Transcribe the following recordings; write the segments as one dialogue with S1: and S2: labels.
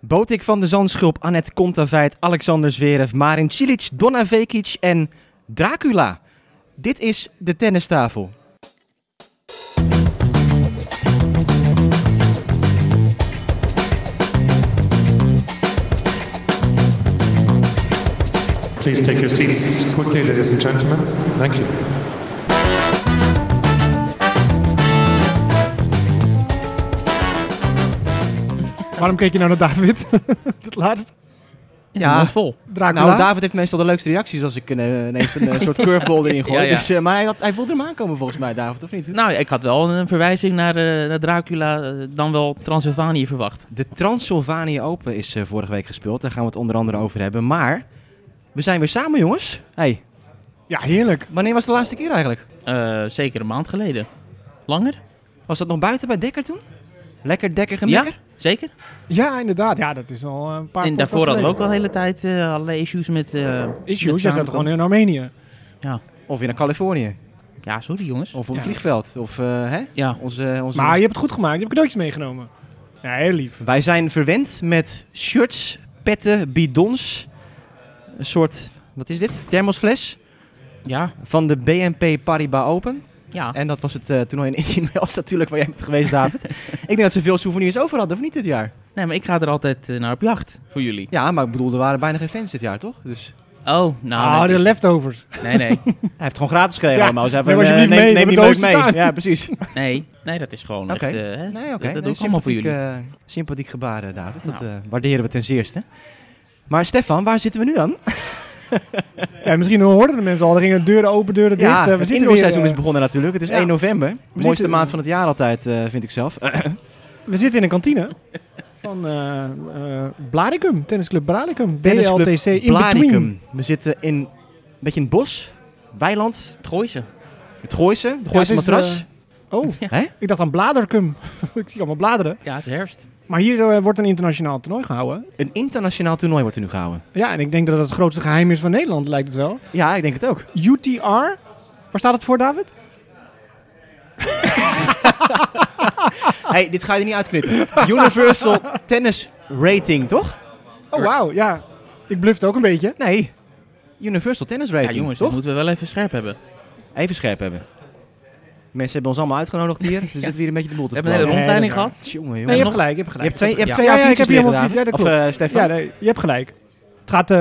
S1: Botik van de Zandschulp, Annette Kontaveit, Alexander Zverev, Marin Cilic, Donna Vekic en Dracula. Dit is de tennistafel.
S2: Please take your seats quickly, ladies and gentlemen. Thank you.
S3: Waarom keek je nou naar David? Het laatste.
S1: Ja,
S4: vol.
S3: Dracula.
S1: nou David heeft meestal de leukste reacties als ik eh, ineens een eh, soort curveball erin gooi.
S4: Ja, ja.
S1: Dus, eh, maar hij, had, hij voelde hem aankomen volgens mij, David, of niet?
S4: Nou, ik had wel een verwijzing naar, eh, naar Dracula, eh, dan wel Transylvanië verwacht.
S1: De Transylvanië Open is eh, vorige week gespeeld. Daar gaan we het onder andere over hebben. Maar we zijn weer samen, jongens. Hey,
S3: Ja, heerlijk.
S1: wanneer was de laatste keer eigenlijk?
S4: Eh, zeker een maand geleden. Langer?
S1: Was dat nog buiten bij Dekker toen? Lekker Dekker gemekker?
S4: Ja, zeker.
S3: Ja, inderdaad. Ja, dat is al eh, een paar
S4: en
S3: podcasts
S4: daarvoor hadden we ook al
S3: geleden.
S4: de hele tijd eh, allerlei issues met... eh, met
S3: Issues, jij zat
S4: samenkomen.
S3: gewoon in Armenië.
S1: Of weer naar Californië.
S4: Ja, sorry jongens.
S1: Of op het
S3: Ja.
S1: vliegveld. Of, eh, hè?
S4: Ja,
S1: Onze, onze...
S3: Maar je hebt het goed gemaakt. Je hebt cadeautjes meegenomen. Ja, heel lief.
S1: Wij zijn verwend met shirts, petten, bidons. Een soort, wat is dit? Thermosfles
S4: ja,
S1: van de BNP Paribas Open.
S4: ja.
S1: En dat was het eh, toernooi in Indian Wells natuurlijk waar jij bent geweest, David. ik denk dat ze veel souvenirs over hadden, of niet dit jaar?
S4: Nee, maar ik ga er altijd eh, naar op jacht voor jullie.
S1: Ja, maar ik bedoel, er waren bijna geen fans dit jaar, toch? Dus
S4: Oh, nou,
S3: Ah,
S4: nee,
S3: de leftovers.
S4: nee, nee,
S1: hij heeft gewoon gratis gekregen
S3: Ja,
S1: allemaal. Ze hebben
S3: neem
S1: een, eh,
S3: alsjeblieft
S1: neem,
S3: mee,
S1: neem
S3: we
S1: die
S3: hebben
S1: leuk
S3: dozen
S1: mee.
S3: staan.
S1: Ja, precies.
S4: nee, nee, dat is gewoon
S1: Oké.
S4: echt... eh, hè,
S1: Nee, oké.
S4: dat- dat doe
S1: nee,
S4: ik allemaal voor
S1: sympathiek,
S4: jullie.
S1: eh, sympathiek gebaar, eh, David. Dat
S4: Nou.
S1: eh, waarderen we ten zeerste. Maar Stefan, waar zitten we nu aan?
S3: Ja, misschien hoorden de mensen al. Er gingen deuren open, deuren dicht. Eh,
S1: ja,
S3: we
S1: het
S3: zitten weer,
S1: indoor-seizoen
S3: eh,
S1: is begonnen natuurlijk. Het is
S3: ja.
S1: 1 november. Mooiste
S3: zitten-
S1: maand van het jaar altijd, eh, vind ik zelf.
S3: eh, We zitten in een kantine van eh eh, Blaricum, tennisclub Blaricum.
S1: Tennisclub
S3: DLTC in between.
S1: Blaricum. We zitten in een beetje in het bos, weiland,
S4: Het gooien ze.
S1: het Gooise, de Gooise
S3: Ja, het is,
S1: matras.
S3: eh, oh,
S1: Hè?
S3: ik dacht aan Bladercum. ik zie allemaal bladeren.
S4: Ja, het is herfst.
S3: Maar hier eh, wordt een internationaal toernooi gehouden.
S1: Een internationaal toernooi wordt er nu gehouden.
S3: Ja, en ik denk dat dat het grootste geheim is van Nederland, lijkt het wel.
S1: Ja, ik denk het ook.
S3: UTR. Waar staat het voor, David? Ah.
S1: hey, dit ga je er niet uitknippen. Universal Tennis Rating, toch?
S3: Oh, wauw. Ja, ik blufte ook een beetje.
S1: Nee. Universal Tennis
S4: Ja,
S1: Rating,
S4: jongens, dat
S1: toch?
S4: moeten we wel even scherp hebben.
S1: Even scherp hebben. Mensen hebben ons allemaal uitgenodigd hier. dus We zitten weer een beetje de boel te
S4: We hebben een hele
S3: Nee,
S4: rondleiding
S3: dat is
S4: gehad.
S1: Jongen, jongen.
S3: Nee, je
S1: je,
S3: hebt gelijk, je hebt gelijk.
S1: hebt twee, je hebt
S4: Ja,
S1: twee
S3: ja, ik
S1: A4'tjes
S3: heb
S1: liggen,
S3: helemaal
S1: David.
S3: vier- ja, dat
S1: Of eh, Stefan.
S3: Ja, nee, je hebt gelijk. Het, gaat, eh,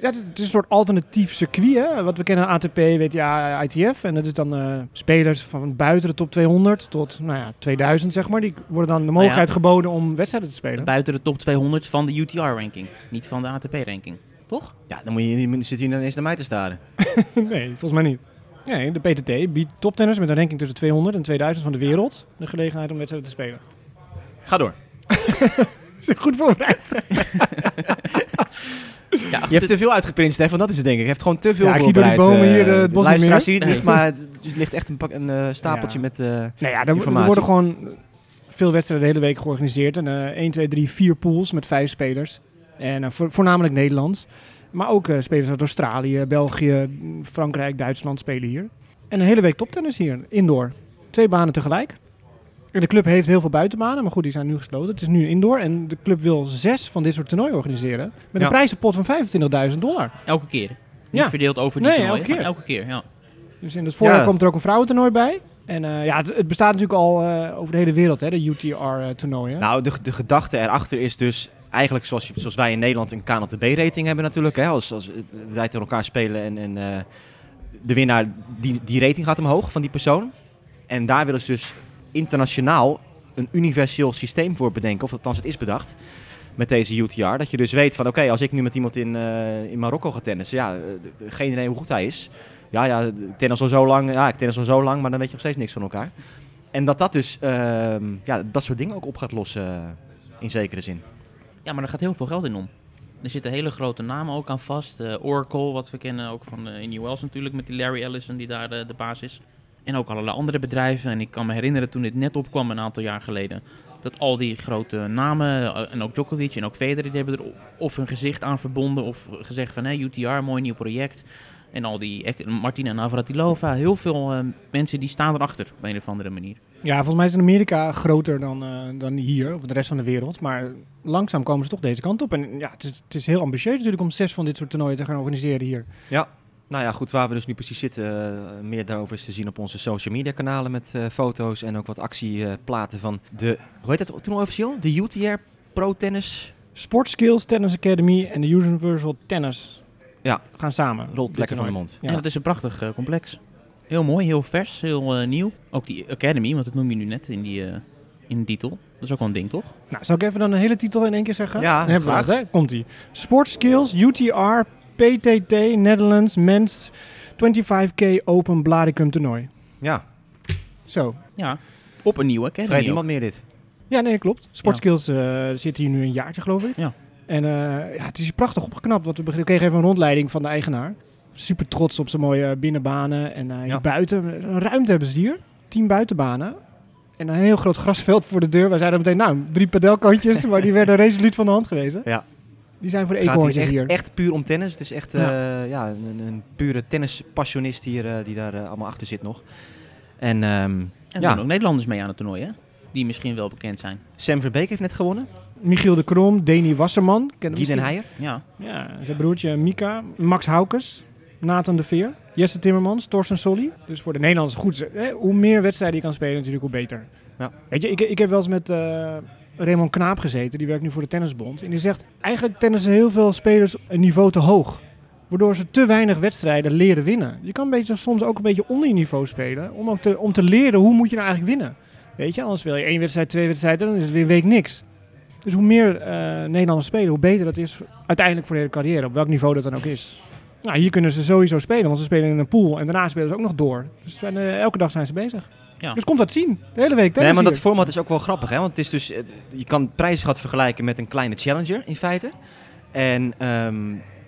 S3: ja, het is een soort alternatief circuit, hè? wat we kennen, ATP, WTA, ITF. En dat is dan eh, spelers van buiten de top 200 tot nou ja, 2000, zeg maar. Die worden dan de mogelijkheid geboden om wedstrijden te spelen.
S4: Buiten de top 200 van de UTR-ranking. Niet van de ATP-ranking. Toch?
S1: Ja, dan moet je, je zit hier dan eens naar mij te staren.
S3: nee, volgens mij niet. Nee, de PTT biedt toptenners met een ranking tussen 200 en 2000 van de wereld de gelegenheid om wedstrijden te spelen.
S1: Ga door.
S3: Is het goed voorbereid?
S4: Ja, goed,
S1: Je hebt
S4: het-
S1: te veel uitgeprint, Stefan. Dat is het, denk ik. Je hebt gewoon te veel
S3: Ja, ik zie door die
S1: voorbereid,
S3: bomen
S1: eh,
S3: hier de- het bos niet
S1: luisteraars
S3: meer.
S1: zien het niet, maar het het ligt echt een, pak, een eh, stapeltje
S3: Ja.
S1: met... eh,
S3: Nou ja, er, wo- er
S1: Informatie.
S3: worden gewoon veel wedstrijden de hele week georganiseerd. En, eh 1, 2, 3, 4 pools met vijf spelers. En eh, vo- voornamelijk Nederlands. Maar ook eh, spelers uit Australië, België, m, Frankrijk, Duitsland spelen hier. En een hele week toptennis hier, indoor. Twee banen tegelijk. En de club heeft heel veel buitenbanen, maar goed, die zijn nu gesloten. Het is nu indoor en de club wil zes van dit soort toernooien organiseren. Met een
S4: Ja.
S3: prijzenpot van 25.000 dollar.
S4: Elke keer. Niet
S3: Ja.
S4: verdeeld over die
S3: Nee,
S4: toernooien,
S3: elke
S4: maar
S3: keer.
S4: Elke keer, ja.
S3: Dus in het voorjaar
S1: Ja.
S3: komt er ook een vrouwentoernooi bij. En eh, ja, het, het bestaat natuurlijk al eh, over de hele wereld, hè, de UTR-toernooien.
S1: Nou, de, de gedachte erachter is dus eigenlijk zoals, je- zoals wij in Nederland een KNLTB-rating hebben natuurlijk. Hè, als, als eh, wij tegen elkaar spelen en, en eh, de winnaar, die, die rating gaat omhoog van die persoon. En daar willen ze dus internationaal een universeel systeem voor bedenken. Of althans, het is bedacht met deze UTR. Dat je dus weet van, oké, als ik nu met iemand in, eh, in Marokko ga tennissen. Ja, eh, de- geen idee hoe goed hij is. Ja, ja, de- tennis al zo lang. Ja, ik tennis al zo lang, maar dan weet je nog steeds niks van elkaar. En dat dat dus ehm, ja, dat soort dingen ook op gaat lossen, eh, in zekere zin.
S4: Ja, maar daar gaat heel veel geld in om. Er zitten hele grote namen ook aan vast. Eh, Oracle, wat we kennen ook van eh in New Wells natuurlijk, met die Larry Ellison die daar eh, de baas is. En ook allerlei andere bedrijven. En ik kan me herinneren toen dit net opkwam een aantal jaar geleden. Dat al die grote namen, eh, en ook Djokovic en ook Federer, die hebben er o- of hun gezicht aan verbonden. Of gezegd van, hé, UTR, mooi nieuw project. En al die ec- Martina Navratilova. Heel veel eh, mensen die staan erachter op een of andere manier.
S3: Ja, volgens mij is het in Amerika groter dan, eh, dan hier, of de rest van de wereld. Maar langzaam komen ze toch deze kant op. En ja, het is, het is heel ambitieus natuurlijk om zes van dit soort toernooien te gaan organiseren hier.
S1: Nou ja, goed, waar we dus nu precies zitten, eh, meer daarover is te zien op onze social media kanalen met eh, foto's en ook wat actieplaten van de, hoe heet dat toernooi officieel? De UTR Pro Tennis
S3: Sportskills Tennis Academy en de Universal Tennis
S1: Ja.
S3: gaan samen.
S1: rolt
S3: Dit
S1: lekker van de
S3: toernooi.
S1: mond.
S3: Ja.
S4: En dat is een prachtig eh, complex. Heel mooi, heel vers, heel eh, nieuw. Ook die Academy, want dat noem je nu net in, die, eh, in de titel. Dat is ook wel een ding, toch?
S3: Nou, zal ik even dan een hele titel in één keer zeggen?
S1: Ja,
S3: Dan hebben we
S1: graag.
S3: dat, hè? Komt-ie. Sportskills UTR PTT Netherlands Men's 25K Open Bladicum toernooi.
S1: Ja,
S3: Zo.
S4: Ja, op een nieuwe
S1: vrij
S4: Academy. ook.
S1: niemand meer dit.
S3: Ja, nee, klopt. Sportskills eh, zit hier nu een jaartje, geloof ik.
S4: Ja.
S3: En eh, ja, het is hier prachtig opgeknapt. Wat we, begrepen. we kregen even een rondleiding van de eigenaar. Super trots op zijn mooie eh, binnenbanen. En eh, hier
S1: Ja.
S3: buiten, een ruimte hebben ze hier. Tien buitenbanen. En een heel groot grasveld voor de deur. Wij zeiden meteen, nou, drie padelkantjes. maar die werden resoluut van de hand gewezen.
S1: Ja.
S3: Die zijn voor de
S1: Het gaat
S3: eekhoorntjes
S1: hier
S3: hier.
S1: echt, echt puur om tennis. Het is echt eh, ja. een, een pure tennispassionist hier eh, die daar eh, allemaal achter zit nog. En ehm,
S4: En
S1: Ja.
S4: doen ook Nederlanders mee aan het toernooi, hè? Die misschien wel bekend zijn.
S1: Sam Verbeek heeft net gewonnen.
S3: Michiel de Krom, Deni Wasserman. Kennen we
S1: Guy Den
S3: misschien.
S1: Heijer.
S4: Ja,
S3: Ja, zijn broertje Mika. Max Haukes. Nathan de Veer. Jesse Timmermans. Torsten Solly. Dus voor de Nederlanders goed. Hè, hoe meer wedstrijden je kan spelen natuurlijk, hoe beter.
S1: Ja.
S3: Weet je, ik, ik heb wel eens met eh, Raymond Knaap gezeten. Die werkt nu voor de Tennisbond. En die zegt, eigenlijk tennissen heel veel spelers een niveau te hoog. Waardoor ze te weinig wedstrijden leren winnen. Je kan een beetje, soms ook een beetje onder je niveau spelen. Om, ook te, om te leren hoe moet je nou eigenlijk winnen. Weet je, anders speel je één wedstrijd, twee wedstrijden. Dan is het weer een week niks. Dus hoe meer eh, Nederlanders spelen, hoe beter dat is uiteindelijk voor de hele carrière, op welk niveau dat dan ook is. Nou, hier kunnen ze sowieso spelen, want ze spelen in een pool en daarna spelen ze ook nog door. Dus ze zijn, eh, elke dag zijn ze bezig.
S4: Ja.
S3: Dus komt dat zien, de hele week.
S1: Nee, maar dat
S3: tennis
S1: format is ook wel grappig, hè? Want het is dus, eh, je kan prijsgat vergelijken met een kleine challenger in feite. En ehm,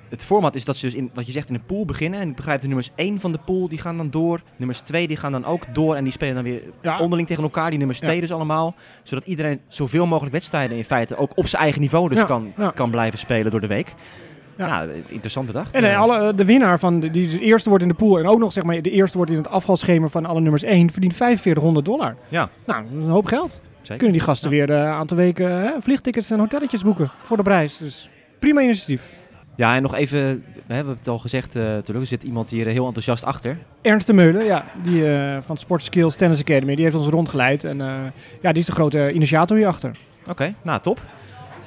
S1: het format is dat ze dus, in, wat je zegt, in een pool beginnen. En ik begrijp de nummers 1 van de pool, die gaan dan door. Nummers 2, die gaan dan ook door. En die spelen dan weer
S3: hier. ja,
S1: onderling tegen elkaar, die nummers
S3: Ja.
S1: 2 dus allemaal. Zodat iedereen zoveel mogelijk wedstrijden in feite ook op zijn eigen niveau dus
S3: Ja,
S1: kan,
S3: ja.
S1: kan blijven spelen door de week.
S3: Ja.
S1: Ja, eh, interessant bedacht.
S3: En eh,
S1: Eh,
S3: alle, de winnaar van de, die dus eerste wordt in de pool en ook nog zeg maar, de eerste wordt in het afvalschema van alle nummers 1, verdient 4500 dollar.
S1: Ja.
S3: Nou, dat is een hoop geld.
S1: Zeker.
S3: Kunnen die gasten weer eh, een aantal weken eh, vliegtickets en hotelletjes boeken voor de prijs. Dus prima initiatief.
S1: Ja, en nog even, hè, we hebben het al gezegd eh natuurlijk, er zit iemand hier eh, heel enthousiast achter.
S3: Ernst de Meulen, ja, die eh, van Sportskills Tennis Academy, die heeft ons rondgeleid. En eh, ja, die is de grote initiator hierachter.
S1: Oké, nou top.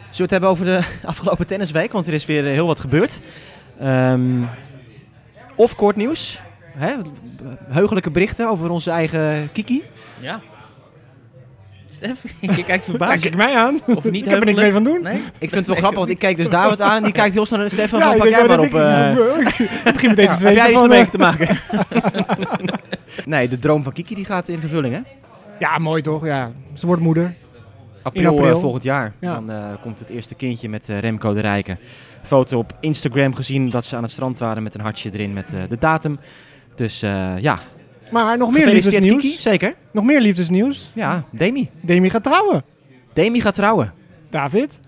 S1: Zullen we het hebben over de afgelopen tennisweek? Want er is weer eh, heel wat gebeurd. Ehm, of kort nieuws. Hè? Heugelijke berichten over onze eigen Kiki.
S4: ja. Stef, je kijkt verbaasd.
S3: kijk mij aan.
S4: of niet
S3: ik heb er niks
S4: heugelijk.
S3: mee van doen.
S4: Nee?
S1: Ik vind het wel grappig, want ik kijk dus David aan en die kijkt heel snel naar Stefan.
S3: ik
S1: van, pak
S3: denk,
S1: jij
S3: wat
S1: maar op.
S3: heb
S1: eh,
S3: ik- Ik begin meteen te
S1: heb
S3: zweten.
S1: jij iets
S3: van,
S1: ermee
S3: eh,
S1: te maken? nee, de droom van Kiki die gaat in vervulling, hè?
S3: Ja, mooi toch? Ja. Ze wordt moeder.
S1: April,
S3: In april.
S1: eh, volgend jaar.
S3: Ja.
S1: Dan eh, komt het eerste kindje met eh, Remco de Rijken. Foto op Instagram gezien dat ze aan het strand waren met een hartje erin met eh, de datum. Dus eh, ja,
S3: Maar nog meer
S1: gefeliciteerd
S3: liefdesnieuws.
S1: Kiki. Zeker.
S3: Nog meer liefdesnieuws.
S1: Ja, Demi.
S3: Demi gaat trouwen.
S1: Demi gaat trouwen.
S3: David.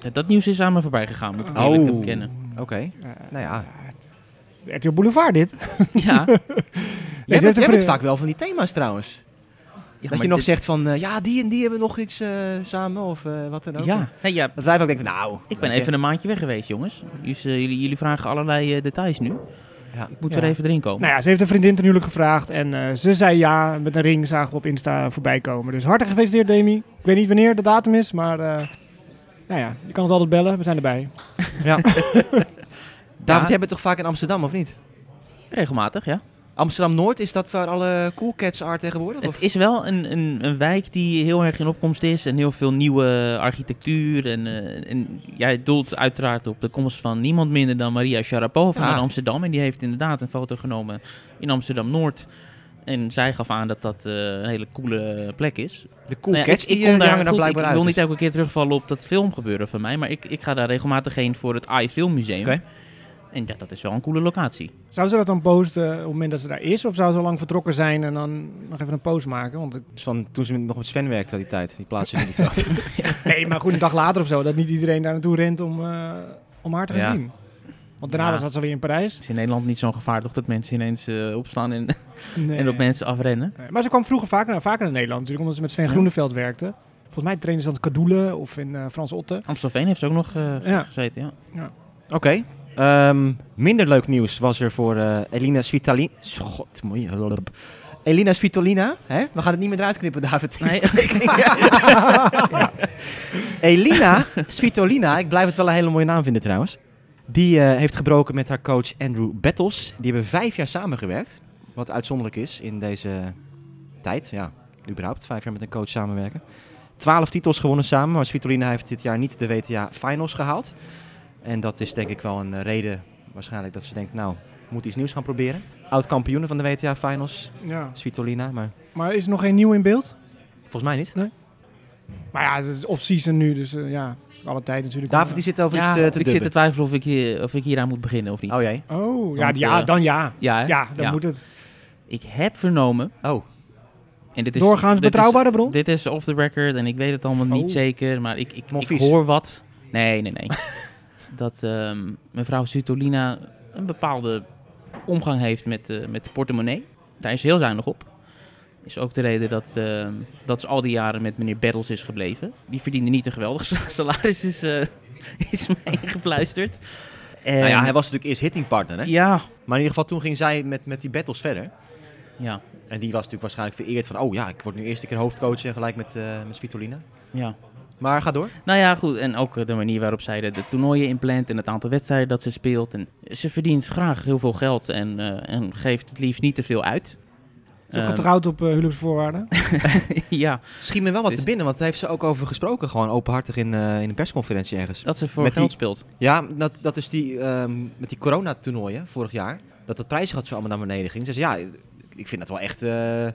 S4: Ja, Dat nieuws is aan me voorbij gegaan, moet ik eerlijk
S1: Oh.
S4: bekennen.
S3: Mm.
S1: Oké,
S3: Eh,
S1: nou ja.
S3: RTL Boulevard dit.
S4: Ja.
S1: Jij
S3: heeft
S1: bent,
S3: een
S1: jij bent
S3: vri-
S1: vaak wel van die thema's trouwens.
S4: Ja,
S1: dat
S4: maar
S1: je nog
S4: dit-
S1: zegt van, eh, ja, die en die hebben nog iets eh, samen of eh, wat dan ook.
S4: Ja. Nee, ja,
S1: Dat wij ook denken, nou...
S4: ik ben
S1: weet je.
S4: even een maandje weg geweest, jongens. Dus, eh, jullie, jullie vragen allerlei eh, details nu.
S1: Ja.
S4: Ik moet
S3: Ja.
S4: er even erin komen.
S3: Nou ja, ze heeft een vriendin ten huwelijk gevraagd. En eh, ze zei ja. Met een ring zagen we op Insta voorbij komen. Dus hartelijk gefeliciteerd Demi. Ik weet niet wanneer de datum is, maar... eh, nou ja, je kan ons altijd bellen. We zijn erbij.
S1: David,
S4: Ja.
S1: jij bent toch vaak in Amsterdam, of niet?
S4: Regelmatig, ja.
S1: Amsterdam-Noord, is dat waar alle cool cats are tegenwoordig? Of?
S4: Het is wel een, een, een wijk die heel erg in opkomst is en heel veel nieuwe architectuur. En, eh, en jij doelt uiteraard op de komst van niemand minder dan Maria Sharapova
S1: Ja.
S4: naar Amsterdam. En die heeft inderdaad een foto genomen in Amsterdam-Noord. En zij gaf aan dat dat eh, een hele coole plek is.
S1: De cool
S4: Nou ja,
S1: cats
S4: ik, ik
S1: die
S4: kom
S1: eh,
S4: daar,
S1: hangen daar
S4: goed,
S1: blijkbaar
S4: Ik
S1: uit.
S4: wil
S1: dus.
S4: niet elke keer terugvallen op dat filmgebeuren van mij, maar ik, ik ga daar regelmatig heen voor het AI Filmmuseum.
S1: Oké.
S4: En ja, dat is wel een coole locatie.
S3: Zou ze dat dan posten op het moment dat ze daar is? Of zou ze al lang vertrokken zijn en dan nog even een post maken? Want ik-
S1: Dus van toen ze nog met Sven werkte al die tijd, die plaatsen in die foto.
S3: nee, maar goed, een dag later of zo. Dat niet iedereen daar naartoe rent om, eh, om haar te gaan
S1: Ja.
S3: zien. Want daarna
S4: Ja.
S3: was dat ze weer in Parijs.
S4: is in Nederland niet zo'n gevaar, toch? Dat mensen ineens eh, opstaan en,
S3: Nee.
S4: en op mensen afrennen.
S3: Nee, Maar ze kwam vroeger vaker, nou, vaker naar Nederland natuurlijk, omdat ze met Sven
S4: Ja.
S3: Groeneveld werkte. Volgens mij trainen ze aan het Kadoelen of in eh, Frans Otte.
S4: Amstelveen heeft ze ook nog eh,
S3: Ja.
S4: gezeten, ja.
S1: Oké. ehm, minder leuk nieuws was er voor eh, Elina Svitolina. God, mooi. lulp. Elina Svitolina. Hè? We gaan het niet meer eruit knippen, David.
S4: Nee.
S1: Ja. Elina Svitolina. Ik blijf het wel een hele mooie naam vinden trouwens. Die eh, heeft gebroken met haar coach Andrew Battles. Die hebben vijf jaar samengewerkt. Wat uitzonderlijk is in deze tijd. Ja, überhaupt. Vijf jaar met een coach samenwerken. Twaalf titels gewonnen samen. Maar Svitolina heeft dit jaar niet de WTA Finals gehaald. En dat is denk ik wel een eh, reden waarschijnlijk dat ze denkt, nou, we moeten iets nieuws gaan proberen. Oud kampioenen van de WTA Finals,
S3: Ja.
S1: Svitolina, maar
S3: Maar is er nog geen nieuw in beeld?
S1: volgens mij niet.
S3: Maar ja, het is off-season nu, dus eh, ja, alle tijd natuurlijk.
S1: David die zit over iets eh, te, te
S4: ik zit te
S1: dubben.
S4: twijfelen of ik, hier, of ik hieraan moet beginnen of niet.
S1: Oh jee.
S3: Oh, ja,
S4: Want,
S3: ja,
S4: eh,
S3: dan ja.
S4: Ja, hè?
S3: Ja, dan moet het.
S4: Ik heb vernomen,
S1: Oh,
S4: en dit is...
S3: Doorgaans
S4: dit is-
S3: betrouwbare bron.
S4: Dit is off the record en ik weet het allemaal niet
S3: Oh.
S4: zeker, maar ik, ik, ik
S1: Monfils.
S4: hoor wat. Nee, nee, nee. dat ehm, mevrouw Sutolina een bepaalde omgang heeft met, eh, met de portemonnee. Daar is ze heel zuinig op. Is ook de reden dat, ehm, dat ze al die jaren met meneer Battles is gebleven. Die verdiende niet een geweldig sa- salaris, is, eh is mij ingefluisterd. En-
S1: nou ja, hij was natuurlijk eerst hittingpartner, hè?
S4: ja,
S1: Maar in ieder geval toen ging zij met, met die battles verder.
S4: ja,
S1: En die was natuurlijk waarschijnlijk vereerd van, oh ja, ik word nu eerst een keer hoofdcoach en gelijk met, eh met Svitolina.
S4: ja.
S1: Maar ga door.
S4: Nou ja, goed. En ook eh, de manier waarop zij de, de toernooien inplant en het aantal wedstrijden dat ze speelt. En ze verdient graag heel veel geld en, eh, en geeft het liefst niet te veel uit.
S3: Ze is
S4: Ehm,
S3: ook getrouwd op eh, huwelijksvoorwaarden.
S4: ja,
S1: Schiet me wel wat
S4: Dus-
S1: te binnen, want daar heeft ze ook over gesproken, gewoon openhartig in, eh, in een persconferentie ergens.
S4: dat ze voor
S1: Met die-
S4: geld speelt.
S1: Ja, dat, dat is die, ehm, met die coronatoernooien vorig jaar. Dat dat prijsgeld zo allemaal naar beneden ging. Ze zei, ja, ik vind dat wel echt... eh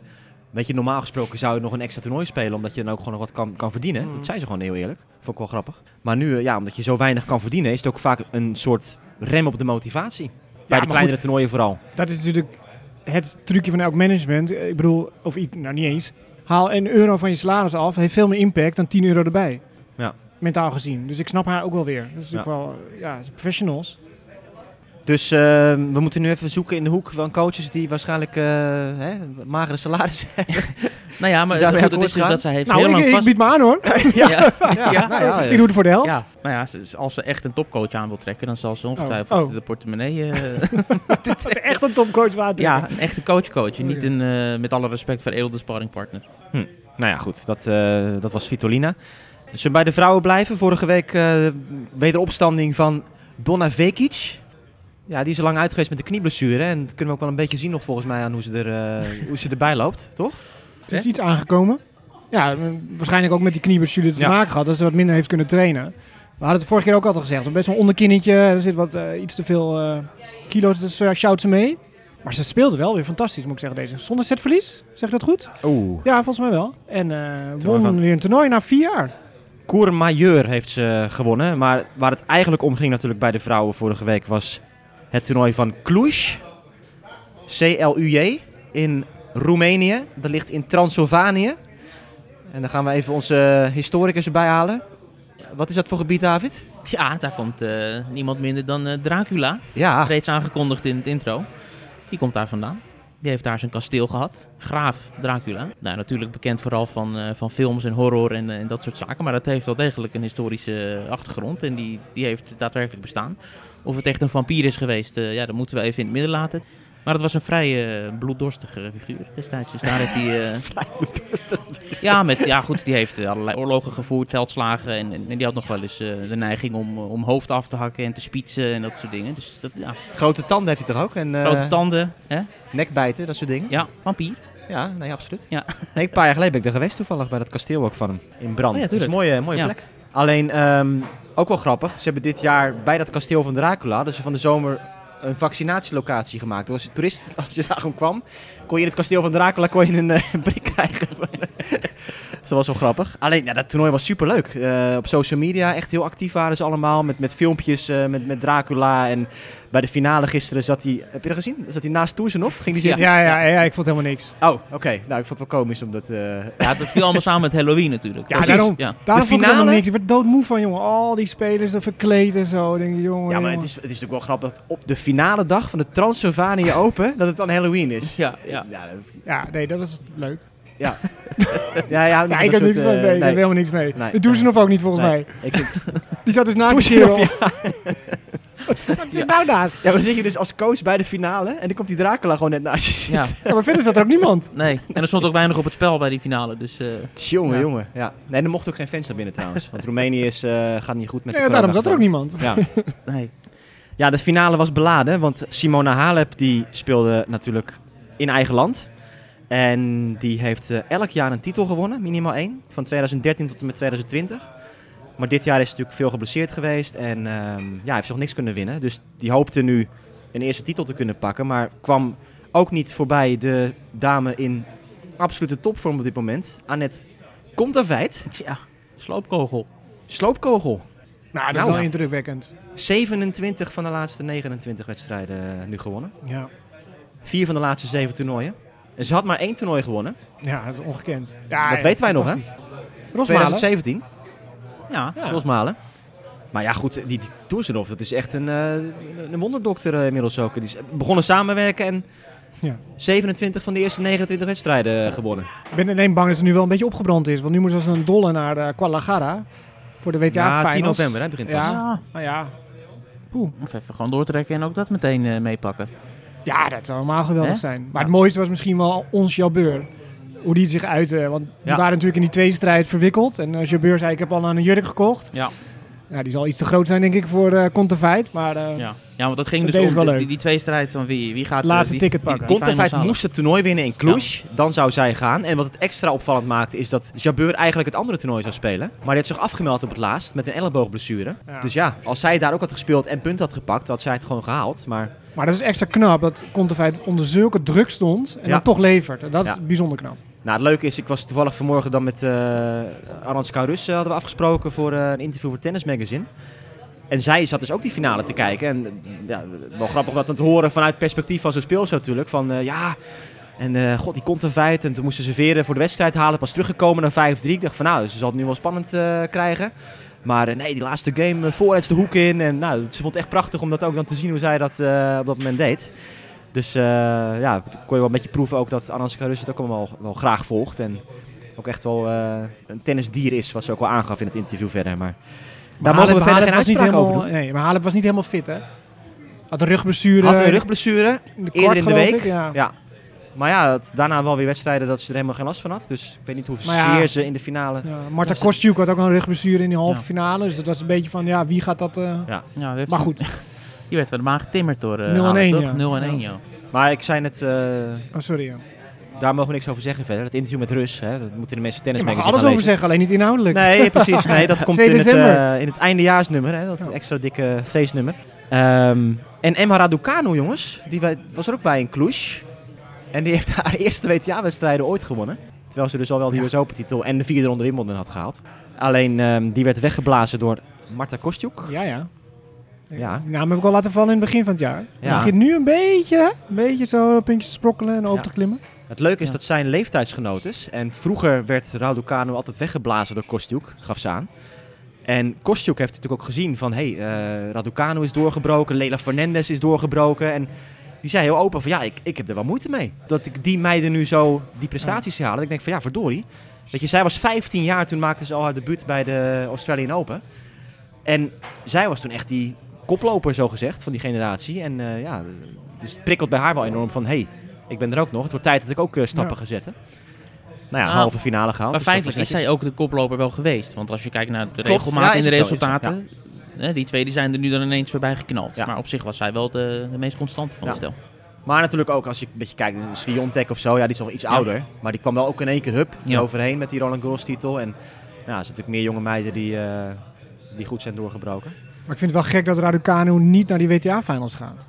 S1: weet je, normaal gesproken zou je nog een extra toernooi spelen... omdat je dan ook gewoon nog wat kan, kan verdienen.
S3: Mm.
S1: Dat zei ze gewoon heel eerlijk. Vond ik wel grappig. Maar nu, eh, ja, omdat je zo weinig kan verdienen... is het ook vaak een soort rem op de motivatie. Bij de
S3: maar
S1: kleinere toernooien vooral.
S3: Dat is natuurlijk het trucje van elk management. Eh, Ik bedoel, of iets, nou niet eens. Haal een euro van je salaris af, heeft veel meer impact dan 10 euro erbij.
S1: Ja.
S3: Mentaal gezien. Dus ik snap haar ook wel weer. Dat is
S1: Ja.
S3: natuurlijk wel, eh, ja, professionals.
S1: Dus eh, we moeten nu even zoeken in de hoek van coaches... die waarschijnlijk eh, hè, magere salarissen hebben.
S4: Nou ja, maar
S1: Daarmee
S4: goed,
S1: akkoord
S4: het is dus
S1: gaan?
S4: dat zij heeft heel
S3: nou, ik,
S4: lang
S3: ik
S4: vast...
S3: bied me aan hoor.
S4: ja, ja, ja, ja.
S1: nou ja,
S3: Ik doe het voor de helft.
S4: Nou ja, ze- ze- als ze echt een topcoach aan wil trekken, dan zal ze ongetwijfeld
S3: Oh.
S4: de portemonnee... eh,
S3: Dat is echt een topcoach water.
S4: ja, een echte coach-coach.
S3: Oh,
S4: En niet een, eh, met alle respect veredelde sparringpartner.
S1: Nou ja, goed. Dat, eh, dat was Vitolina. Zullen we bij de vrouwen blijven? Vorige week eh wederopstanding van Donna Vekic. Ja, die is er lang uit geweest met de knieblessure. En dat kunnen we ook wel een beetje zien nog volgens mij aan hoe ze, er, eh, hoe ze erbij loopt, toch?
S3: Ze is iets aangekomen. Ja, eh, waarschijnlijk ook met die knieblessure te
S1: Ja.
S3: maken gehad. Dat ze wat minder heeft kunnen trainen. We hadden het vorige keer ook al gezegd. Best wel een onderkinnetje. Er zit wat, eh, iets te veel eh, kilo's. Dus eh sjouwt ze mee. Maar ze speelde wel weer fantastisch, moet ik zeggen. Deze. Zonder setverlies. Zeg ik dat goed?
S1: Oeh.
S3: Ja, volgens mij wel. En eh won
S1: Toernooi van-
S3: weer een toernooi na vier jaar.
S1: Courmayeur heeft ze gewonnen. Maar waar het eigenlijk om ging natuurlijk bij de vrouwen vorige week was het toernooi van Cluj. C-L-U-J in Roemenië. Dat ligt in Transylvanië. En dan gaan we even onze historicus erbij halen. Wat is dat voor gebied, David?
S4: Ja, daar komt eh, niemand minder dan eh, Dracula.
S1: Ja,
S4: reeds aangekondigd in het intro. Die komt daar vandaan. Die heeft daar zijn kasteel gehad. Graaf Dracula. Nou, natuurlijk bekend vooral van, eh, van films en horror en, eh, en dat soort zaken. Maar dat heeft wel degelijk een historische eh, achtergrond. En die, die heeft daadwerkelijk bestaan. Of het echt een vampier is geweest, eh, ja, dat moeten we even in het midden laten. Maar het was een vrij eh, bloeddorstige figuur destijds. Dus daar heeft hij... eh, ja, met, ja, goed, die heeft eh, allerlei oorlogen gevoerd, veldslagen. En, en die had nog wel eens eh, de neiging om, eh, om hoofd af te hakken en te spietsen en dat soort dingen. Dus dat, ja,
S1: grote tanden heeft hij toch ook? En eh,
S4: Grote tanden, hè?
S1: nekbijten, dat soort dingen.
S4: Ja, vampier.
S1: Ja, nee, absoluut.
S4: Ja.
S1: Nee, een paar jaar geleden ben ik er geweest toevallig bij dat kasteel ook van hem. In brand.
S4: Oh ja,
S1: dat is een mooie, mooie
S4: Ja.
S1: plek. Alleen, ehm, ook wel grappig, ze hebben dit jaar bij dat kasteel van Dracula, dus van de zomer een vaccinatielocatie gemaakt. Dus als je toerist, als je daar gewoon kwam, kon je in het kasteel van Dracula kon je een eh, brik krijgen. Van- Dat was wel grappig. Alleen, ja, dat toernooi was superleuk. Eh op social media echt heel actief waren ze allemaal. Met, met filmpjes, eh, met, met Dracula. En bij de finale gisteren zat hij... Heb je dat gezien? Zat hij naast Toersenhoff? Ging die
S4: Ja.
S1: zitten?
S3: Ja, ja, ja, ik vond helemaal niks.
S1: Oh, oké. Nou, ik vond het wel komisch omdat... eh,
S4: Ja, dat viel allemaal samen met Halloween natuurlijk.
S3: Ja,
S4: Precies,
S3: daarom.
S4: Ja.
S3: Daarom
S1: De
S3: vond ik helemaal
S1: finale?
S3: niks. Ik werd doodmoe van, jongen. Al die spelers er verkleed en zo. Denk ik, jongen,
S1: Ja, maar
S3: jongen.
S1: het is, het is natuurlijk wel grappig dat op de finale dag van de Transylvania Open, dat het dan Halloween is.
S4: Ja, ja.
S1: Ja, dat-
S3: ja nee, dat was leuk.
S1: ja, ja, nou,
S3: Ja, ik heb niks
S1: niet
S3: van, eh, nee, ik heb helemaal niks mee.
S1: eh, Nee.
S3: Dat doen ze nog ook niet, volgens mij.
S1: Ik vind-
S3: Die zat dus naast
S1: Doe
S3: de
S1: ze nog,
S3: kerel. Wat zit nou naast?
S1: ja, dan zit je dus als coach bij de finale en dan komt die Dracula gewoon net naast je
S4: Ja,
S1: zitten.
S3: Ja, maar verder zat er ook niemand.
S4: nee. En er stond ook weinig op het spel bij die finale. Dus eh,
S1: Jongen,
S4: Ja.
S1: jongen. Ja. Nee, er mocht ook geen fans naar binnen trouwens, want Roemenië is, eh, gaat niet goed met
S3: Nee,
S1: de
S3: daarom zat er ook
S1: corona.
S3: niemand.
S1: Ja.
S4: nee.
S1: Ja, de finale was beladen, want Simona Halep die speelde natuurlijk in eigen land. En die heeft eh, elk jaar een titel gewonnen, minimaal één, van 2013 tot en met 2020. Maar dit jaar is ze natuurlijk veel geblesseerd geweest en ehm, ja, heeft ze nog niks kunnen winnen. Dus die hoopte nu een eerste titel te kunnen pakken, maar kwam ook niet voorbij de dame in absolute topvorm op dit moment, Annette Kontaveit.
S4: Tja, sloopkogel.
S1: Sloopkogel.
S3: Nou, dat is
S1: Nou,
S3: wel
S1: ja.
S3: indrukwekkend.
S1: 27 van de laatste 29 wedstrijden eh, nu gewonnen.
S3: Ja.
S1: Vier van de laatste zeven toernooien. En ze had maar één toernooi gewonnen.
S3: ja, dat is ongekend. Ja,
S1: Dat
S3: ja,
S1: weten wij nog, hè?
S3: fantastisch. Rosmalen.
S1: 2017.
S4: Ja,
S1: Ja. Rosmalen. Maar ja, goed, die, die Toersenhoff, dat is echt een, eh, een wonderdokter eh, inmiddels ook. Die is begonnen samenwerken en
S3: Ja.
S1: 27 van de eerste 29 wedstrijden eh, gewonnen.
S3: Ik ben alleen bang dat ze nu wel een beetje opgebrand is. Want nu moet ze als een dolle naar eh Guadalajara voor de WTA
S1: Ja,
S3: finals.
S1: 10 november, hè, begint pas.
S3: Ja.
S4: Ja.
S3: Nou ja.
S4: Of even gewoon doortrekken en ook dat meteen eh, meepakken.
S3: ja, dat zou helemaal geweldig
S4: Hè?
S3: zijn. Maar
S4: Ja.
S3: het mooiste was misschien wel ons Jabeur. Hoe die het zich uitte. eh, Want die
S1: Ja.
S3: waren natuurlijk in die tweede strijd verwikkeld. En als Jabeur zei, ik heb al aan een jurk gekocht.
S4: Ja.
S3: Ja, die zal iets te groot zijn, denk ik, voor eh Contefeit. Maar eh,
S4: Ja. ja, want dat ging
S3: Dat deden
S4: dus om
S3: ze wel
S4: die,
S3: leuk.
S4: die twee strijd van wie, wie gaat... eh,
S3: Laatste
S4: die-
S3: ticket
S4: die-
S3: pakken.
S4: die
S1: Kontaveit
S4: finals
S1: moest het toernooi winnen in Cluj. Dan zou zij gaan. En wat het extra opvallend maakte is dat Jabeur eigenlijk het andere toernooi zou spelen. Maar die had zich afgemeld op het laatst met een elleboogblessure.
S3: Ja.
S1: Dus ja, als zij daar ook had gespeeld en punten had gepakt, had zij het gewoon gehaald. Maar
S3: Maar dat is extra knap dat Contefeit onder zulke druk stond en
S1: Ja.
S3: dan toch levert. En Dat is
S1: Ja.
S3: bijzonder knap.
S1: Nou, het leuke is, ik was toevallig vanmorgen dan met eh Arans Kaurus eh, hadden we afgesproken voor eh, een interview voor Tennis Magazine. En zij zat dus ook die finale te kijken. En eh, ja, wel grappig om dat te horen vanuit het perspectief van zo'n speelster natuurlijk. Van eh, ja, en eh, god, die komt een feit. En toen moesten ze serveren voor de wedstrijd halen. Pas teruggekomen naar 5-3. Ik dacht van nou, ze zal het nu wel spannend eh, krijgen. Maar eh, nee, die laatste game, eh, vooruit de hoek in. En nou, ze vond het echt prachtig om dat ook dan te zien hoe zij dat eh, op dat moment deed. Dus eh, ja, toen kon je wel een beetje proeven ook dat Anansi Karus het ook allemaal wel, wel graag volgt. En ook echt wel eh, een tennisdier is, wat ze ook wel aangaf in het interview verder. Maar, daar mogen we verder geen
S3: was niet
S1: uitspraak
S3: helemaal,
S1: over doen.
S3: Nee, maar Halep was niet helemaal fit, hè? Had een rugblessure.
S1: Had een rugblessure,
S3: in de
S1: eerder in de
S3: geloof
S1: week.
S3: ik, ja.
S1: Ja. Maar ja, het- daarna wel weer wedstrijden dat ze er helemaal geen last van had. Dus ik weet niet hoe
S3: Maar ja.
S1: zeer ze in de finale...
S3: Ja, Marta Kostjuk had ook een rugblessure in die halve
S4: Ja.
S3: finale. Dus dat was een beetje van, ja, wie gaat dat... eh,
S4: Ja, die heeft-
S3: Maar goed,
S4: Die werd van de maan getimmerd door... eh,
S3: 0 en 1,
S4: 0-1,
S3: ja.
S4: 0 en 1,
S3: Ja.
S4: joh.
S1: Maar ik zei net, eh,
S3: oh, sorry. Ja.
S1: daar mogen we niks over zeggen verder. Het interview met Rus, hè, dat moeten de mensen
S3: Je
S1: tennis
S3: mag er
S1: magazine
S3: alles
S1: gaan
S3: over
S1: lezen.
S3: zeggen, alleen niet inhoudelijk.
S1: Nee, precies. Nee, dat komt
S3: 2
S1: in het,
S3: december.
S1: eh, in het eindejaarsnummer. Hè, dat
S3: Ja.
S1: extra dikke feestnummer. Ehm, en Emma Raducanu, jongens. Die wij- was er ook bij in Cluj. En die heeft haar eerste WTA-wedstrijden ooit gewonnen. Terwijl ze dus al wel de US Open-titel en de vierde ronde Wimbledon had gehaald. Alleen, ehm, die werd weggeblazen door Marta Kostjuk.
S3: Ja, ja.
S1: Ja.
S3: Nou, heb ik al laten vallen in het begin van het jaar.
S1: Ja.
S3: Ja. begint nu een beetje, een beetje zo puntjes te sprokkelen en
S1: Ja.
S3: over te klimmen.
S1: Het leuke is
S4: Ja.
S1: dat zij een leeftijdsgenoot is. En vroeger werd Raducanu altijd weggeblazen door Kostjuk, gaf ze aan. En Kostjuk heeft natuurlijk ook gezien van... hé, hey, eh, Raducanu is doorgebroken, Leila Fernandez is doorgebroken. En die zei heel open van... ja, ik, ik heb er wel moeite mee. Dat ik die meiden nu zo die prestaties zie halen. Dat ik denk van ja, verdorie. Weet je, zij was 15 jaar toen maakte ze al haar debuut bij de Australian Open. En zij was toen echt die koploper, zo gezegd, van die generatie. En eh, ja, dus het prikkelt bij haar wel enorm van... hey, ik ben er ook nog. Het wordt tijd dat ik ook eh, stappen
S3: Ja.
S1: ga zetten. Nou ja,
S4: Ah,
S1: halve finale gehaald. dus dat
S4: Maar feitelijk
S1: was
S4: is
S1: netjes.
S4: zij ook de koploper wel geweest. Want als je kijkt naar de
S1: Klopt.
S4: regelmaat
S1: Ja,
S4: en
S1: is
S4: de
S1: het zo, is het zo.
S4: resultaten... hè, die twee die zijn er nu dan ineens voorbij geknald.
S1: Ja.
S4: Maar op zich was zij wel de, de meest constante van
S1: Ja.
S4: het stel.
S1: Maar natuurlijk ook als je een beetje kijkt naar Sviontek of zo. Ja, die is al iets ouder. Maar die kwam wel ook in één keer hup
S4: Ja.
S1: overheen met die Roland Garros titel. En nou, er zijn natuurlijk meer jonge meiden die, eh, die goed zijn doorgebroken.
S3: Maar ik vind het wel gek dat Raducanu niet naar die WTA-finals gaat.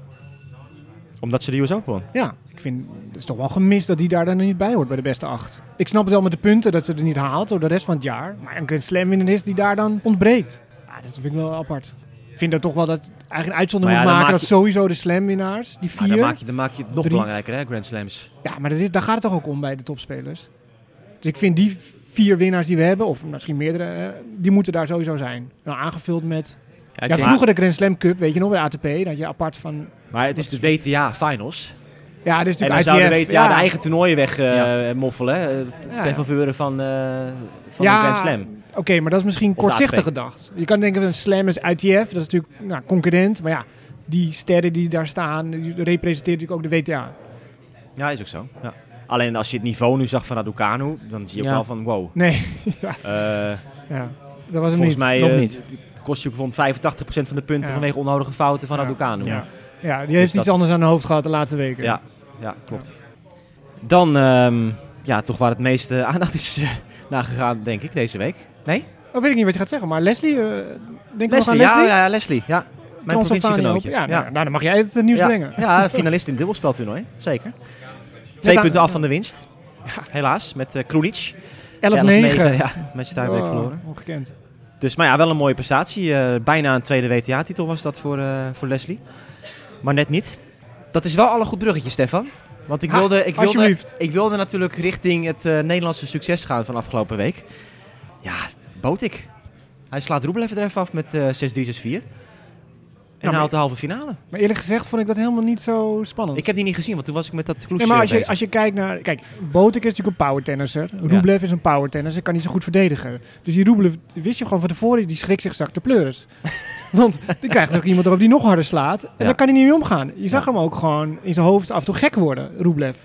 S1: Omdat ze de US Open won.
S3: Ja, ik vind het is toch wel gemist dat die daar dan niet bij hoort bij de beste acht. Ik snap het wel met de punten dat ze er niet haalt door de rest van het jaar. Maar een Grand Slam winnaar is die daar dan ontbreekt. Ja, dat vind ik wel apart. Ik vind dat toch wel dat eigenlijk een uitzondering
S1: Maar ja,
S3: moet
S1: dan
S3: maken
S1: maak
S3: dat sowieso de Slam winnaars, die
S1: Maar Ah, dan
S3: vier.
S1: maak, je, dan maak je het nog
S3: Drie.
S1: belangrijker, hè, Grand Slams.
S3: Ja, maar dat is, daar gaat het toch ook om bij de topspelers. Dus ik vind die vier winnaars die we hebben, of misschien meerdere, eh, die moeten daar sowieso zijn. Nou, aangevuld met...
S4: Ja, ik
S3: Ja,
S4: denk-
S3: vroeger de Grand Slam Cup, weet je nog, bij de ATP, dat je apart van...
S1: Maar het is de WTA Finals.
S3: Ja, dit is
S1: En dan
S3: natuurlijk
S1: zouden
S3: ITF.
S1: de WTA de eigen toernooien weg eh, moffelen. hè,
S3: Ja,
S1: Ten
S3: ja.
S1: faveur van, eh, van
S3: Ja.
S1: de Grand Slam.
S3: Oké, maar dat is misschien
S1: de
S3: kortzichtig
S1: ATP.
S3: gedacht. Je kan denken, een slam is ITF, dat is natuurlijk nou, concurrent. Maar ja, die sterren die daar staan, die representeren natuurlijk ook de WTA.
S1: Ja, is ook zo. Ja. Alleen als je het niveau nu zag van Raducanu, dan zie je
S4: Ja.
S1: ook wel van wow.
S3: Nee,
S1: Eh,
S3: ja, dat was hem
S1: volgens
S3: niet.
S1: mij
S4: nog
S1: eh,
S4: niet.
S1: d- kost je bijvoorbeeld 85% van de punten
S3: Ja.
S1: vanwege onnodige fouten van Raducanu.
S3: Ja,
S1: Ja.
S3: ja die heeft
S1: dat-
S3: iets anders aan de hoofd gehad de laatste weken.
S1: Ja. klopt. Dan, ehm, ja, toch waar het meeste aandacht is eh, nagegaan, denk ik, deze week. Nee?
S3: Oh, weet ik niet wat je gaat zeggen, maar Leslie, eh denk je nog
S1: Leslie,
S3: aan Leslie?
S1: ja, ja, Leslie. Ja, mijn
S3: Transylvania
S1: provinciegenootje.
S3: Open. Ja, Nou, nou, dan mag jij het eh, nieuws
S1: ja.
S3: brengen.
S1: Ja, finalist in het dubbelspeltoernooi, zeker. Twee
S3: aan-
S1: punten af van de winst. Helaas, met eh Krunic.
S3: 11-9.
S1: 11-9, Ja, met je tiebreak
S3: Oh,
S1: verloren.
S3: Ongekend.
S1: Dus, maar ja, wel een mooie prestatie. Eh, bijna een tweede WTA-titel was dat voor, eh, voor Leslie. Maar net niet. Dat is wel al een goed bruggetje, Stefan. Want ik
S3: Ha,
S1: wilde, ik wilde,
S3: alsjeblieft.
S1: ik wilde natuurlijk richting het eh, Nederlandse succes gaan van afgelopen week. Ja, Botik. Hij slaat Roebel even er even af met eh 6-3, 6-4. En
S3: maar-
S1: haalt de halve finale.
S3: Maar eerlijk gezegd vond ik dat helemaal niet zo spannend.
S1: Ik heb die niet gezien, want toen was ik met dat kloesje
S3: Nee, maar als je, als je kijkt naar... Kijk, Botek is natuurlijk een powertennisser. Rublev is een powertennisser, kan niet zo goed verdedigen. Dus die Rublev, wist je gewoon van tevoren, die schrikt zich zak de pleuris. Want dan krijgt er ook iemand erop die nog harder slaat. En
S1: Ja.
S3: daar kan hij niet mee omgaan. Je zag hem ook gewoon in zijn hoofd af en toe gek worden, Rublev.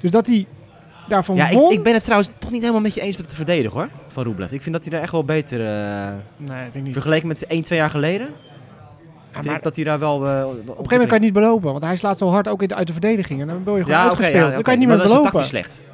S3: Dus dat hij daarvan
S1: Ja, ik,
S3: won...
S1: ik ben het trouwens toch niet helemaal met je eens met het verdedigen hoor, van Roeblev. Ik vind dat hij daar echt wel beter, eh,
S3: Nee, ik denk niet.
S1: vergeleken met 1, 2 jaar geleden,
S3: Ja,
S1: vind
S3: maar
S1: ik dat hij daar wel eh, op
S3: op een gegeven moment kan je niet belopen. Want hij slaat zo hard ook in de- uit de verdediging. En dan ben je gewoon
S1: ja, oké,
S3: uitgespeeld.
S1: ja,
S3: Dan
S1: oké,
S3: kan je niet
S1: maar
S3: meer
S1: dan is het
S3: belopen.
S1: tactisch slecht.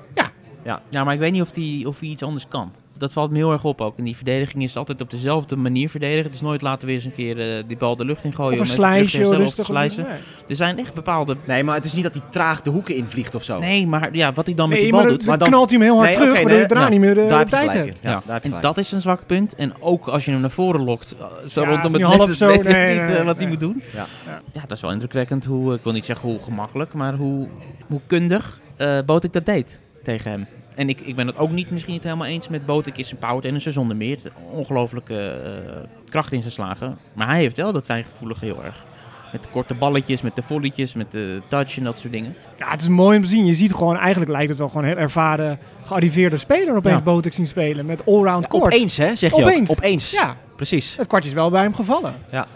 S4: Ja, maar ik weet niet of hij of die iets anders kan. Dat valt me heel erg op ook. En die verdediging is altijd op dezelfde manier verdedigen. Dus nooit laten we eens een keer eh, die bal de lucht in gooien.
S3: Of
S4: om
S3: een
S4: even terug te
S3: slijsje,
S4: herstellen of
S3: rustig.
S4: te slijzen.
S3: Nee.
S4: Er zijn echt bepaalde...
S1: Nee, maar het is niet dat hij traag de hoeken invliegt of zo.
S4: Nee, maar ja, wat hij dan met
S3: Nee,
S4: die
S3: maar dan
S4: bal doet...
S1: Oh. maar
S3: dan
S1: dan-
S3: knalt hij hem heel hard
S1: Nee,
S3: terug,
S1: oké,
S3: waardoor je
S1: nee,
S3: daarna
S1: nou,
S3: niet meer de,
S1: daar
S3: de
S1: heb je
S3: tijd
S1: gelijk
S3: hebt.
S1: in. Ja, daar heb je
S4: en
S1: gelijk
S4: dat is een zwak punt. En ook als je hem naar voren lokt, eh, zo
S3: Ja,
S4: rondom
S3: niet
S4: het
S3: half
S4: net,
S3: zo,
S4: weet ik
S3: nee,
S4: niet
S3: nee,
S4: eh, wat
S3: nee.
S4: hij moet doen.
S1: Ja.
S3: Ja.
S4: ja, dat is wel indrukwekkend hoe, eh, ik wil niet zeggen hoe gemakkelijk, maar hoe, hoe kundig eh Botik dat deed tegen hem. En ik, ik ben het ook niet misschien niet helemaal eens met Botik is een powertennisser dus zonder meer. Ongelooflijke eh, kracht in zijn slagen. Maar hij heeft wel dat fijngevoelige heel erg. Met de korte balletjes, met de volleytjes, met de touch en dat soort dingen.
S3: Ja, het is mooi om te zien. Je ziet gewoon, eigenlijk lijkt het wel gewoon een heel ervaren, gearriveerde speler opeens
S4: Ja.
S3: Botek zien spelen met allround
S1: in.
S3: court.
S1: Opeens, hè, zeg je
S3: Opeens.
S1: ook. Opeens.
S3: Ja,
S1: Precies.
S3: het kwartje is wel bij hem gevallen.
S1: Ja.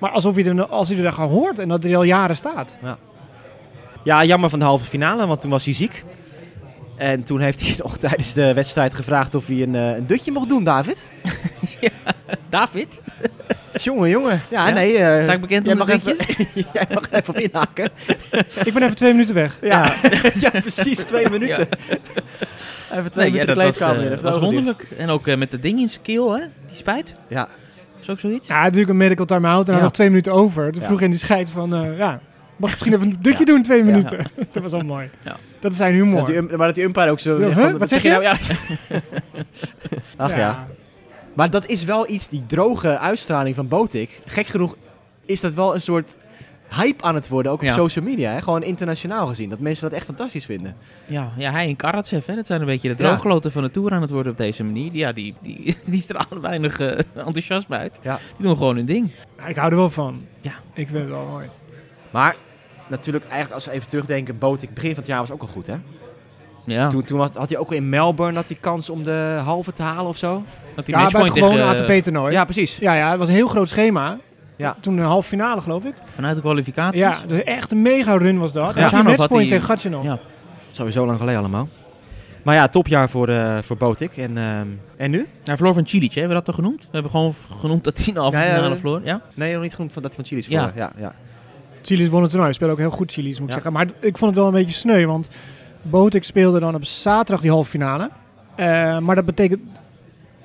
S3: Maar alsof hij er, als hij er dan gewoon hoort en dat hij er al jaren staat.
S1: Ja, jammer van de halve finale, want toen was hij ziek. En toen heeft hij nog tijdens de wedstrijd gevraagd of hij een, eh, een dutje mocht doen, David.
S4: David,
S1: Jongen, jongen. Ja,
S4: Ja?
S1: nee. eh,
S4: sta ik bekend
S1: jij
S4: om de
S1: mag, even,
S4: dutjes?
S1: jij mag even op inhaken.
S3: Ik ben even twee minuten weg.
S1: Ja, ja precies. Twee minuten. Even twee minuten
S4: Nee, ja,
S1: de
S4: dat was,
S1: kleedkamer
S4: eh,
S1: in. even de
S4: was
S1: ogen dicht.
S4: wonderlijk. En ook eh, met dat ding in zijn keel, hè? Die spuit.
S1: Ja.
S4: Is ook zoiets?
S3: Ja, natuurlijk een medical time-out en
S1: Ja.
S3: hij had nog twee minuten over. Toen
S1: Ja.
S3: vroeg hij in die scheid van, eh, ja, mag ik misschien even een dutje doen twee
S1: Ja.
S3: minuten? dat was al mooi.
S4: Ja.
S3: Dat is zijn
S1: Dat
S3: humor.
S1: die, um- maar dat die umpire ook zo...
S3: Ja,
S1: zegt
S3: huh?
S1: van,
S3: Wat zeg je?
S1: nou? Ja. Ach ja. Maar dat is wel iets, die droge uitstraling van Botik. Gek genoeg is dat wel een soort hype aan het worden, ook op
S4: Ja.
S1: social media. Hè? Gewoon internationaal gezien. Dat mensen dat echt fantastisch vinden.
S4: Ja, ja, hij en Karatsev, hè, dat zijn een beetje de
S1: Ja.
S4: drooggeloten van de Tour aan het worden op deze manier. Ja, die, die, die stralen weinig eh, enthousiasme uit.
S1: Ja.
S4: Die doen gewoon hun ding.
S3: Ja, Ik hou er wel van.
S4: Ja.
S3: Ik vind het wel mooi.
S1: Maar natuurlijk, eigenlijk als we even terugdenken, Botik begin van het jaar was ook al goed. Hè?
S4: Ja,
S1: Toen, toen had, had hij ook al in Melbourne had hij kans om de halve te halen of zo.
S4: dat
S3: Ja, bij het
S4: die matchpoint
S3: gewone
S4: tegen, eh,
S3: ATP-toernooi.
S1: Ja, precies.
S3: Ja, ja, het was een heel groot schema.
S1: Ja.
S3: Toen een halve finale, geloof ik.
S4: Vanuit de kwalificaties.
S3: Ja, dus echt een mega run was dat. Ja.
S4: Ja.
S3: Die
S4: Gatjanov had
S3: matchpoint
S4: die-
S3: tegen Gatjanov.
S4: Ja.
S1: Sowieso lang geleden allemaal. Maar ja, topjaar voor, eh voor Botik. En, ehm, en nu?
S4: Naar verloor van Cilic, hè, hebben we dat toch genoemd? We hebben gewoon genoemd dat hij een halve
S1: Ja, ja,
S4: finale
S1: we-
S4: verloor. Ja?
S1: Nee, nog niet genoemd van dat van Chili's
S4: Ja.
S1: voor. Ja, ja.
S3: Chilis won het toernooi. Speelde ook heel goed Chilis, moet ik
S1: Ja.
S3: zeggen. Maar ik vond het wel een beetje sneu, want Botek speelde dan op zaterdag die halve finale. Eh, maar dat betekent...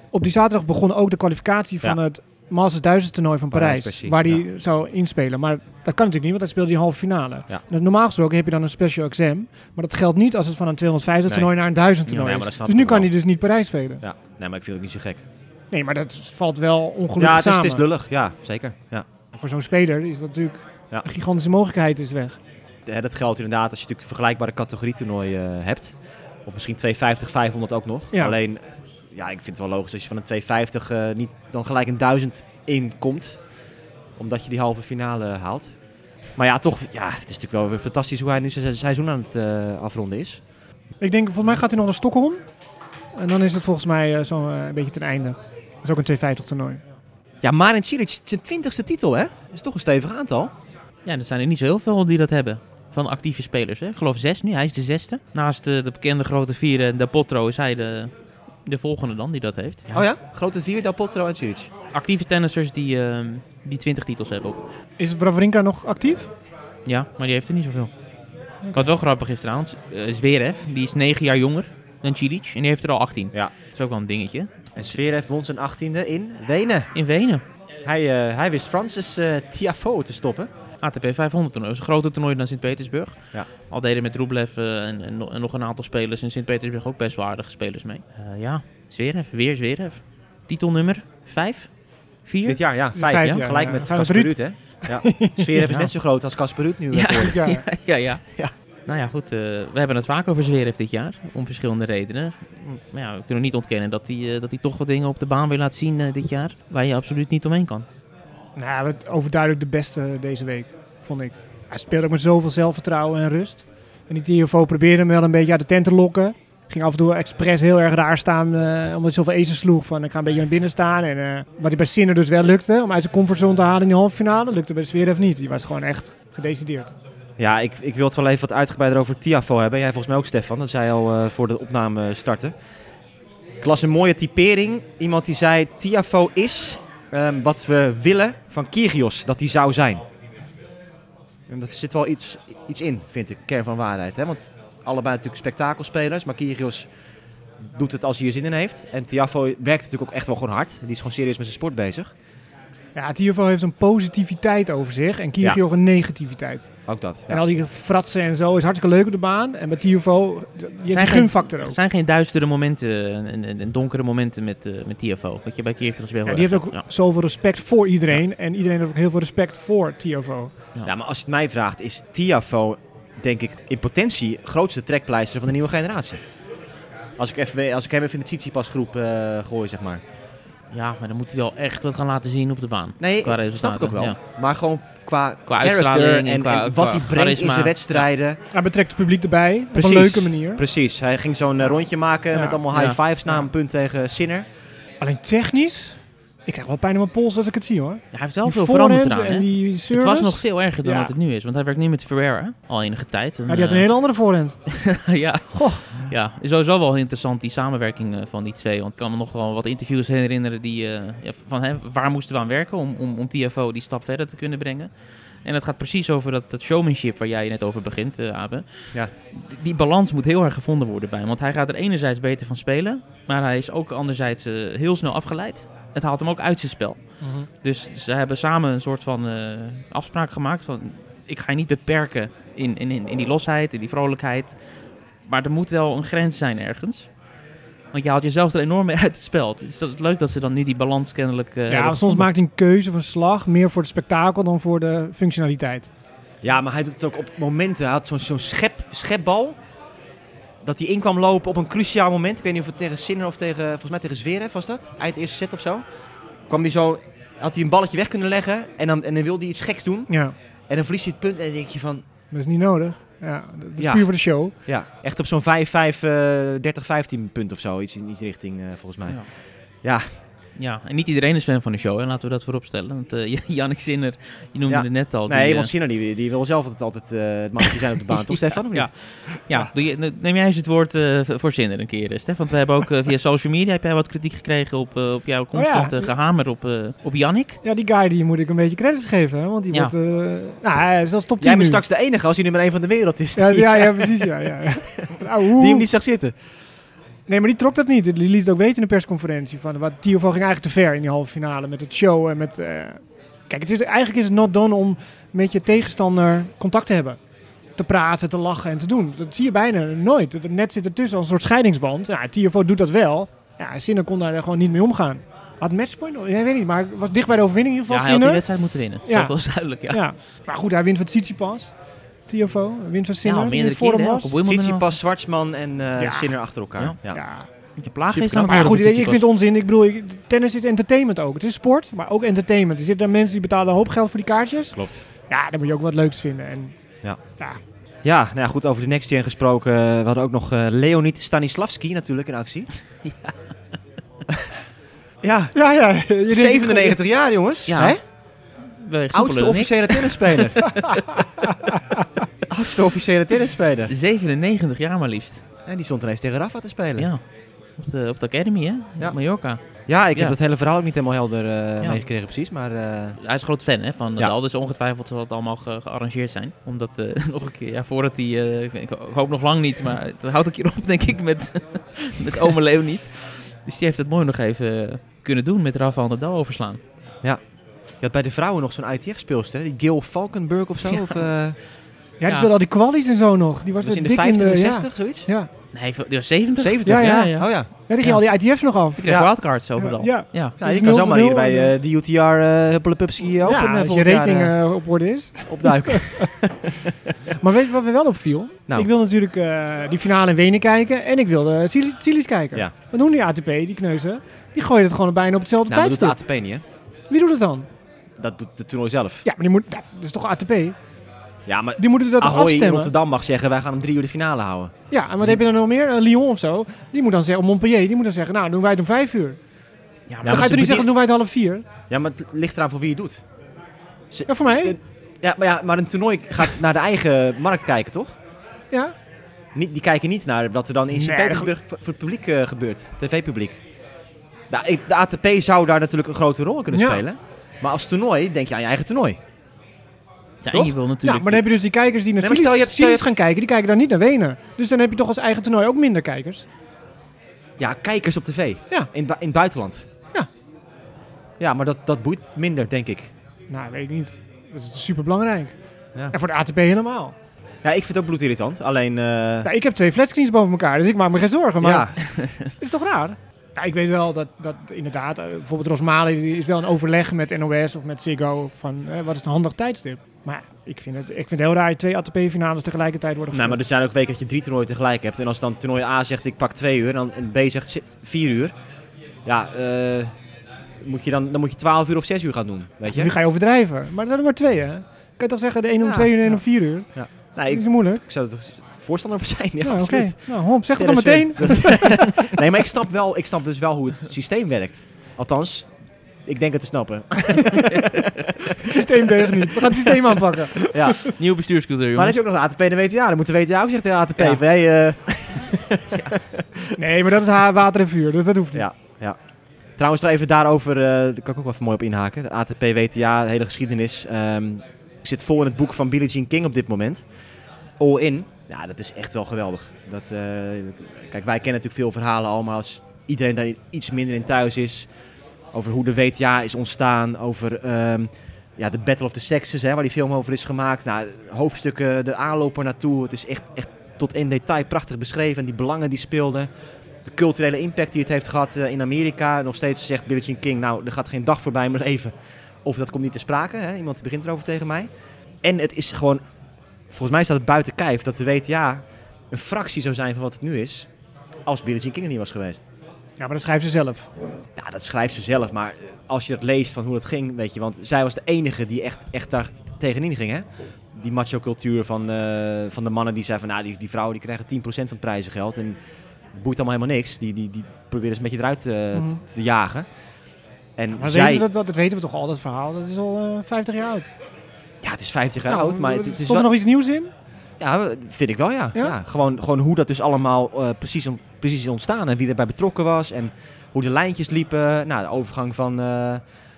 S3: Op die zaterdag begon ook de kwalificatie van
S1: Ja.
S3: het Masters 1000 toernooi van
S1: Parijs,
S3: Parijs,
S1: precies,
S3: waar hij zou inspelen. Maar dat kan natuurlijk niet, want hij speelde die halve finale.
S1: Ja.
S3: En Normaal gesproken heb je dan een special exam, maar dat geldt niet als het van een 250
S1: Nee.
S3: toernooi naar een 1000
S1: Ja, maar
S3: toernooi
S1: dat
S3: is.
S1: snap
S3: Dus
S1: ik
S3: nu
S1: wel.
S3: kan hij dus niet Parijs spelen.
S1: Ja, nee, maar ik vind het niet zo gek.
S3: Nee, maar dat valt wel ongelukkig
S1: Ja, het is,
S3: samen.
S1: het is lullig. Ja, zeker. Ja.
S3: Voor zo'n speler is dat natuurlijk
S1: Ja.
S3: een gigantische mogelijkheid is weg.
S1: Hè, Eh, dat geldt inderdaad als je natuurlijk vergelijkbare categorie toernooi eh, hebt. Of misschien 250, 500 ook nog.
S3: Ja.
S1: Alleen, eh, ja, ik vind het wel logisch als je van een 250 eh, niet dan gelijk een 1000 inkomt. Omdat je die halve finale haalt. Maar ja, toch, ja, het is natuurlijk wel weer fantastisch hoe hij nu zijn seizoen aan het eh, afronden is.
S3: Ik denk, volgens mij gaat hij nog naar Stockholm. En dan is het volgens mij eh, zo'n eh, een beetje ten einde. Dat is ook een 250 toernooi.
S1: Ja, Marin Cilic, zijn twintigste titel, hè? Dat is toch een stevig aantal.
S4: Ja, er zijn er niet zo heel veel die dat hebben. Van actieve spelers. Hè? Ik geloof zes nu. Hij is de zesde. Naast eh, de bekende grote vier, eh, Del Potro, is hij de, de volgende dan die dat heeft.
S1: Oh ja? Grote vier, Del Potro en Cilic.
S4: Actieve tennissers die, ehm, die 20 titels hebben.
S3: Is Bravrinka nog actief?
S4: Ja, maar die heeft er niet zoveel. Wat wel grappig is trouwens, eh, Zverev, die is 9 jaar jonger dan Cilic. En die heeft er al 18.
S1: Ja.
S4: Dat is ook wel een dingetje.
S1: En Sverev won zijn achttiende in Wenen.
S4: In Wenen.
S1: Hij, eh, hij wist Francis eh Tiafoe te stoppen.
S4: ATP 500 toernooi. Dat is een groter toernooi dan Sint-Petersburg.
S1: Ja.
S4: Al deden met Rublev eh, en, en, no- en nog een aantal spelers in Sint-Petersburg ook best wel aardige spelers mee. Eh, ja, Zverev, weer Zverev. Titelnummer 5, 4.
S1: Dit jaar, ja. Vijf,
S3: Vijf
S1: ja.
S3: jaar,
S1: Gelijk
S3: ja.
S1: met
S3: Gaan we
S1: Casper Ruud, hè? Ja. Zverev is
S4: Ja.
S1: net zo groot als Casper Ruud nu.
S4: Ja.
S1: eh,
S3: Dit jaar.
S4: Ja, ja.
S1: Ja.
S4: Nou ja, goed. eh, we hebben het vaak over Zverev dit jaar. Om verschillende redenen. Maar ja, we kunnen niet ontkennen dat hij, eh, dat hij toch wat dingen op de baan weer laat zien eh, dit jaar. Waar je absoluut niet omheen kan.
S3: Nou, het overduidelijk de beste deze week, vond ik. Hij speelde ook met zoveel zelfvertrouwen en rust. En die TFO probeerde hem wel een beetje uit de tent te lokken. Ging af en toe expres heel erg raar staan, eh, omdat hij zoveel aces sloeg. Van, ik ga een beetje naar binnen staan. En eh, wat hij bij Sinner dus wel lukte, om uit zijn comfortzone te halen in die halve finale, lukte bij Zverev niet. Die was gewoon echt gedecideerd.
S1: Ja, ik, ik wil het wel even wat uitgebreider over Tiafo hebben. Jij volgens mij ook, Stefan. Dat zei je al eh, voor de opname starten. Ik las een mooie typering. Iemand die zei, Tiafo is ehm, wat we willen van Kyrgios. Dat hij zou zijn. En daar zit wel iets, iets in, vind ik. Kern van waarheid. Hè? Want allebei natuurlijk spektakelspelers. Maar Kyrgios doet het als hij er zin in heeft. En Tiafo werkt natuurlijk ook echt wel gewoon hard. Die is gewoon serieus met zijn sport bezig.
S3: Ja, TFO heeft een positiviteit over zich en Kyrgios een negativiteit.
S1: Ook dat.
S3: En al die fratsen en zo is hartstikke leuk op de baan. En bij TFO, je hebt die
S4: geen-
S3: gunfactor ook.
S4: Het zijn geen duistere momenten eh, en, en, en donkere momenten met, eh met TFO. Wat je bij Kierkegaard wel
S3: Ja,
S4: heel
S3: die
S4: erg
S3: heeft ook
S4: hebt. Ja.
S3: zoveel respect voor iedereen. En iedereen heeft ook heel veel respect voor TFO.
S1: Ja, Nou, maar als je het mij vraagt, is Tiafo, denk ik, in potentie grootste trekpleister van de nieuwe generatie. Als ik, even, we- als ik hem even in de Tsitsipas-groep eh, gooi, zeg maar.
S4: Ja, maar dan moet hij wel echt wat gaan laten zien op de baan.
S1: Nee,
S4: Qua
S1: dat snap ik
S4: resultaten,
S1: ook wel.
S4: ja.
S1: Maar gewoon qua,
S4: Qua
S1: character en,
S4: uitstraling en qua-
S1: en wat
S4: qua
S1: hij brengt in
S4: charisma.
S1: zijn wedstrijden.
S3: Hij betrekt het publiek erbij.
S1: Precies.
S3: Op een leuke manier.
S1: Precies, hij ging zo'n eh, rondje maken
S3: Ja.
S1: met allemaal high
S4: Ja.
S1: fives na een punt tegen Sinner.
S3: Alleen technisch. Ik krijg wel pijn in mijn pols als ik het zie hoor.
S4: Ja, hij heeft wel
S3: Die
S4: veel
S3: voorhand
S4: veranderd eraan.
S3: en
S4: hè.
S3: die
S4: Het
S3: service.
S4: was nog veel erger dan
S3: Ja.
S4: wat het nu is. Want hij werkt nu met Ferreira al enige tijd. En,
S3: Ja, die had een hele andere voorhand.
S4: eh, ja.
S3: Goh.
S4: ja, is sowieso wel interessant die samenwerking eh, van die twee. Want ik kan me nog wel wat interviews herinneren die, eh, ja, van hè, waar moesten we aan werken om, om, om TFO die stap verder te kunnen brengen. En dat gaat precies over dat, dat showmanship waar jij net over begint, eh Abe.
S1: Ja.
S4: D- die balans moet heel erg gevonden worden bij hem. Want hij gaat er enerzijds beter van spelen, maar hij is ook anderzijds eh, heel snel afgeleid. Het haalt hem ook uit zijn spel. Dus ze hebben samen een soort van eh, afspraak gemaakt van... ik ga je niet beperken in, in, in, in die losheid, in die vrolijkheid. Maar er moet wel een grens zijn ergens. Want je haalt jezelf er enorm mee uit het spel. Dus dat is leuk dat ze dan nu die balans kennelijk... eh,
S3: Ja,
S4: hebben
S3: soms
S4: gevonden.
S3: maakt hij een keuze of een slag meer voor het spektakel dan voor de functionaliteit.
S1: Ja, maar hij doet het ook op momenten. Hij had zo'n zo'n schep, schepbal. Dat hij in kwam lopen op een cruciaal moment. Ik weet niet of het tegen Sinner of tegen, volgens mij tegen Zverev was dat. Eind eerste set of zo. Kwam hij zo, had hij een balletje weg kunnen leggen. En dan, en dan wilde hij iets geks doen.
S3: Ja,
S1: En dan verliest hij het punt. En dan denk je van,
S3: maar dat is niet nodig. Ja, dat is
S1: Ja.
S3: puur voor de show.
S1: ja, echt op zo'n 5-5, eh 30-15 punt of zo. Iets in die richting eh, volgens mij.
S4: Ja.
S1: Ja.
S4: Ja, en niet iedereen is fan van de show, hè? laten we dat voorop stellen. Want eh, Jannik Zinner, je noemde
S1: Ja.
S4: het net al.
S1: nee,
S4: die, eh,
S1: want Sinner die, die wil zelf altijd, altijd eh, het mannetje zijn op de baan. Toch Stefan? Of niet?
S4: Ja, ja. Doe je, ne- neem jij eens het woord eh, v- voor Zinder een keer, Stef. Want we hebben ook eh, via social media heb jij wat kritiek gekregen op, eh, op jouw constante gehamer op, eh, op Jannik.
S3: Ja, die guy die moet ik een beetje credits geven. hè, Want die
S4: Ja.
S3: wordt... eh nou, hij is als top 10
S1: Jij
S3: nu.
S1: bent straks de enige als hij nummer 1 van de wereld is.
S3: Ja,
S1: die,
S3: ja, ja, precies. Ja, ja. Nou, hoe-
S1: die hem niet zag zitten.
S3: Nee, maar die trok dat niet. Die liet het ook weten in de persconferentie. Van, wat, Tiofo ging eigenlijk te ver in die halve finale met het show en met... eh, kijk, het is, eigenlijk is het not done om met je tegenstander contact te hebben. Te praten, te lachen en te doen. Dat zie je bijna nooit. Het net zit ertussen als een soort scheidingsband. Ja, Tiofo doet dat wel. Ja, Sinner kon daar gewoon niet mee omgaan. Had matchpoint? nog? Ja, ik weet niet, maar was dicht bij de overwinning in ieder
S4: Ja,
S3: geval.
S4: hij had die
S3: Sinner.
S4: wedstrijd moeten winnen.
S3: Ja.
S4: Dat was duidelijk, ja.
S3: Ja. Maar goed, hij wint van Tsitsipas. Tiofo, wint van Sinner.
S4: al
S3: die in
S4: meerdere
S3: de vorm
S4: keren, hè, ook
S3: was.
S4: op Wimbledon al.
S1: Tsitsipas, Zwartsman en eh
S3: Ja.
S1: Sinner achter elkaar.
S4: Ja.
S1: Ja.
S3: Ja.
S4: Je
S1: Superknap.
S4: plaag is aan het
S1: Maar
S3: Maar
S4: worden
S3: goed, ik ik
S4: van Tsitsipas.
S3: vind het onzin. Ik bedoel, ik- tennis is entertainment ook. Het is sport, maar ook entertainment. Er zitten mensen die betalen een hoop geld voor die kaartjes.
S1: Klopt.
S3: Ja, dan moet je ook wat leuks vinden. En,
S1: Ja.
S3: ja.
S1: Ja, nou ja, goed, over de Next Gen gesproken. eh, We hadden ook nog eh, Leonid Stanislavski natuurlijk in actie. ja.
S3: Ja, ja. je denkt-
S1: 97 jaar, jongens.
S4: Ja.
S1: Hè?
S4: We
S1: Oudste
S4: googelen niks.
S1: officiële tennisspeler. Oudste officiële tennisspeler.
S4: 97 jaar maar liefst.
S1: En die stond ineens tegen Rafa te spelen. Ja,
S4: Ja. Op de, op de Academy, hè?
S1: Ja.
S4: Op Mallorca.
S1: ik heb
S4: Ja.
S1: dat hele verhaal ook niet helemaal helder eh,
S4: Ja.
S1: meegekregen precies. Maar eh,
S4: Hij is groot fan hè, van
S1: Ja.
S4: de Al, dus ongetwijfeld zal het allemaal ge- gearrangeerd zijn. Omdat, eh, nog een keer, ja, voordat hij, eh, ik, ik hoop nog lang niet, maar dat houdt ook hier op, denk ik, met, met ome Leoniet. Dus die heeft het mooi nog even eh, kunnen doen met Rafael Nadal overslaan.
S1: je had bij de vrouwen nog zo'n ITF-speelster. hè? Die Gil Valkenburg of zo.
S4: Ja.
S1: Of, eh,
S3: Ja, die
S4: Ja.
S3: speelde al die kwalies en zo nog. Die was,
S1: was in
S3: er
S1: de
S3: dik
S1: 50
S3: in
S1: en
S3: de
S1: 60, zoiets?
S3: Ja, ja.
S4: Nee, die was 70.
S1: 70,
S3: Ja, ja.
S1: Oh ja.
S3: ja die ging al die ITF's nog af.
S4: Ik kreeg
S1: Ja.
S4: wildcards overal.
S3: Ja.
S4: ja.
S1: Nou,
S3: Dus
S1: je kan
S3: 0-0
S1: zomaar hier bij
S3: en,
S1: eh, de UTR eh Hupplepuppski Open
S3: Ja,
S1: eh,
S3: als je
S1: volgend jaar,
S3: rating
S1: eh,
S3: eh, op orde is.
S1: opduiken.
S3: Maar weet je wat me wel opviel?
S1: Nou.
S3: Ik wil natuurlijk eh, die finale in Wenen kijken. En ik wilde Chili- Chilis kijken.
S1: Ja.
S3: Wat doen die ATP, die kneuzen? Die gooien het gewoon bijna op hetzelfde
S1: nou, dat doet de
S3: tijdstip.
S1: ATP niet, hè?
S3: Wie doet het dan?
S1: Dat doet de toernooi zelf.
S3: Ja, maar die moet... Ja, dat is toch ATP?
S1: Ja, maar
S3: Die moeten dat toch
S1: Ahoy in
S3: afstemmen?
S1: Rotterdam mag zeggen, wij gaan om drie uur de finale houden.
S3: Ja, en wat heb je dan nog meer? Eh, Lyon of zo. Die moet dan zeggen, of Montpellier, die moet dan zeggen, nou, doen wij het om vijf uur.
S4: Ja,
S1: maar
S3: dan ga je
S1: ze
S3: toch niet zeggen,
S1: bedien-
S3: doen wij het half vier?
S1: Ja, maar het ligt eraan voor wie je doet.
S3: Ja, voor mij.
S1: Eh, Ja, maar, ja, maar een toernooi gaat naar de eigen markt kijken, toch?
S3: Ja.
S1: Niet, die kijken niet naar wat er dan in
S3: Nee,
S1: Sint-Petersburg voor, voor het publiek eh, gebeurt. TV-publiek. Nou, ik- de ATP zou daar natuurlijk een grote rol in kunnen
S3: Ja.
S1: spelen. Maar als toernooi denk je aan je eigen toernooi.
S4: Ja,
S1: toch?
S4: en je wil
S3: ja,
S4: natuurlijk...
S3: maar dan heb je dus die kijkers die naar
S1: Nee, maar
S3: Chilis
S1: stel je hebt- stel je
S3: Chilis gaan kijken, die kijken dan niet naar Wenen. Dus dan heb je toch als eigen toernooi ook minder kijkers.
S1: Ja, kijkers op tv.
S3: Ja.
S1: In, bu- in het buitenland.
S3: Ja.
S1: Ja, maar dat, dat boeit minder, denk ik.
S3: Nou, weet ik niet. Dat is superbelangrijk.
S1: Ja.
S3: En voor de ATP helemaal.
S1: Ja, ik vind het ook bloedirritant. Alleen... eh,
S3: Ja, ik heb twee flatscreens boven elkaar, dus ik maak me geen zorgen. Maar
S1: ja.
S3: is toch raar? Ja, ik weet wel dat, dat inderdaad, eh, bijvoorbeeld Rosmalen die is wel een overleg met NOS of met Ziggo van eh, wat is een handig tijdstip. Maar ik vind het, ik vind het heel raar dat twee ATP-finales tegelijkertijd worden
S1: Nou, maar er zijn ook weken dat je drie toernooien tegelijk hebt. En als dan toernooi A zegt ik pak twee uur en, dan, en B zegt zi- vier uur. Ja, eh, moet je dan, dan moet je twaalf uur of zes uur gaan doen, weet
S3: Nu
S1: je?
S3: ga je overdrijven. Maar er zijn er maar twee, hè? Kan je toch zeggen de een om
S1: Ja,
S3: twee uur en de een
S1: ja.
S3: om vier uur?
S1: Nou,
S3: Dat
S1: ik,
S3: is moeilijk.
S1: ik zou er toch voorstander van zijn, ja,
S3: Ja, oké.
S1: absoluut.
S3: Nou, Hop, zeg het dan
S1: Dennis
S3: meteen.
S1: Wit. nee, maar ik snap, wel, ik snap dus wel hoe het systeem werkt. Althans, ik denk het te snappen.
S3: Het systeem deugt niet. We gaan het systeem aanpakken.
S1: Ja.
S4: Nieuwe bestuurscultuur,
S1: Maar dan heb
S4: jongens.
S1: je ook nog de ATP en de WTA. Dan moet de WTA ook zeggen tegen de ATP
S4: Ja.
S1: van, hey, eh,
S3: Nee, maar dat is haar water en vuur, dus dat hoeft niet.
S1: Ja, ja. Trouwens, nog even daarover, eh, daar kan ik ook wel even mooi op inhaken. De ATP, WTA, de hele geschiedenis. ehm, ik zit vol in het boek van Billie Jean King op dit moment. All In. Ja, dat is echt wel geweldig. Dat, eh, kijk, wij kennen natuurlijk veel verhalen al, maar als iedereen daar iets minder in thuis is... over hoe de WTA is ontstaan, over ehm, ja, de Battle of the Sexes, hè, waar die film over is gemaakt. Nou, hoofdstukken, de aanloper naartoe. Het is echt, echt tot in detail prachtig beschreven. En die belangen die speelden de culturele impact die het heeft gehad eh, in Amerika. Nog steeds zegt Billie Jean King, nou, er gaat geen dag voorbij in mijn leven. Of dat komt niet te sprake. Hè? Iemand begint erover tegen mij. En het is gewoon, volgens mij staat het buiten kijf dat de WTA een fractie zou zijn van wat het nu is. Als Billie Jean King er niet was geweest.
S3: Ja, maar dat schrijft ze zelf.
S1: Ja, dat schrijft ze zelf. Maar eh, als je dat leest van hoe dat ging, weet je. Want zij was de enige die echt, echt daar tegenin ging, hè. Die macho-cultuur van, eh, van de mannen die zeiden van... Nou, die, die vrouwen die krijgen 10% van het prijzengeld. En het boeit allemaal helemaal niks. Die, die, die proberen ze een beetje eruit eh, te-
S3: Mhm.
S1: te, jagen. En
S3: Maar
S1: zij...
S3: weten we dat, dat, dat weten we toch al, dat verhaal. Dat is al eh 50 jaar oud.
S1: Ja, het is 50 jaar
S3: Nou,
S1: oud, maar het, het is
S3: Stond
S1: wel...
S3: er nog iets nieuws in?
S1: Ja, vind ik wel, ja.
S3: Ja?
S1: ja? gewoon, gewoon hoe dat dus allemaal eh, precies, on- precies is ontstaan en wie erbij betrokken was en hoe de lijntjes liepen. Nou, de overgang van, eh,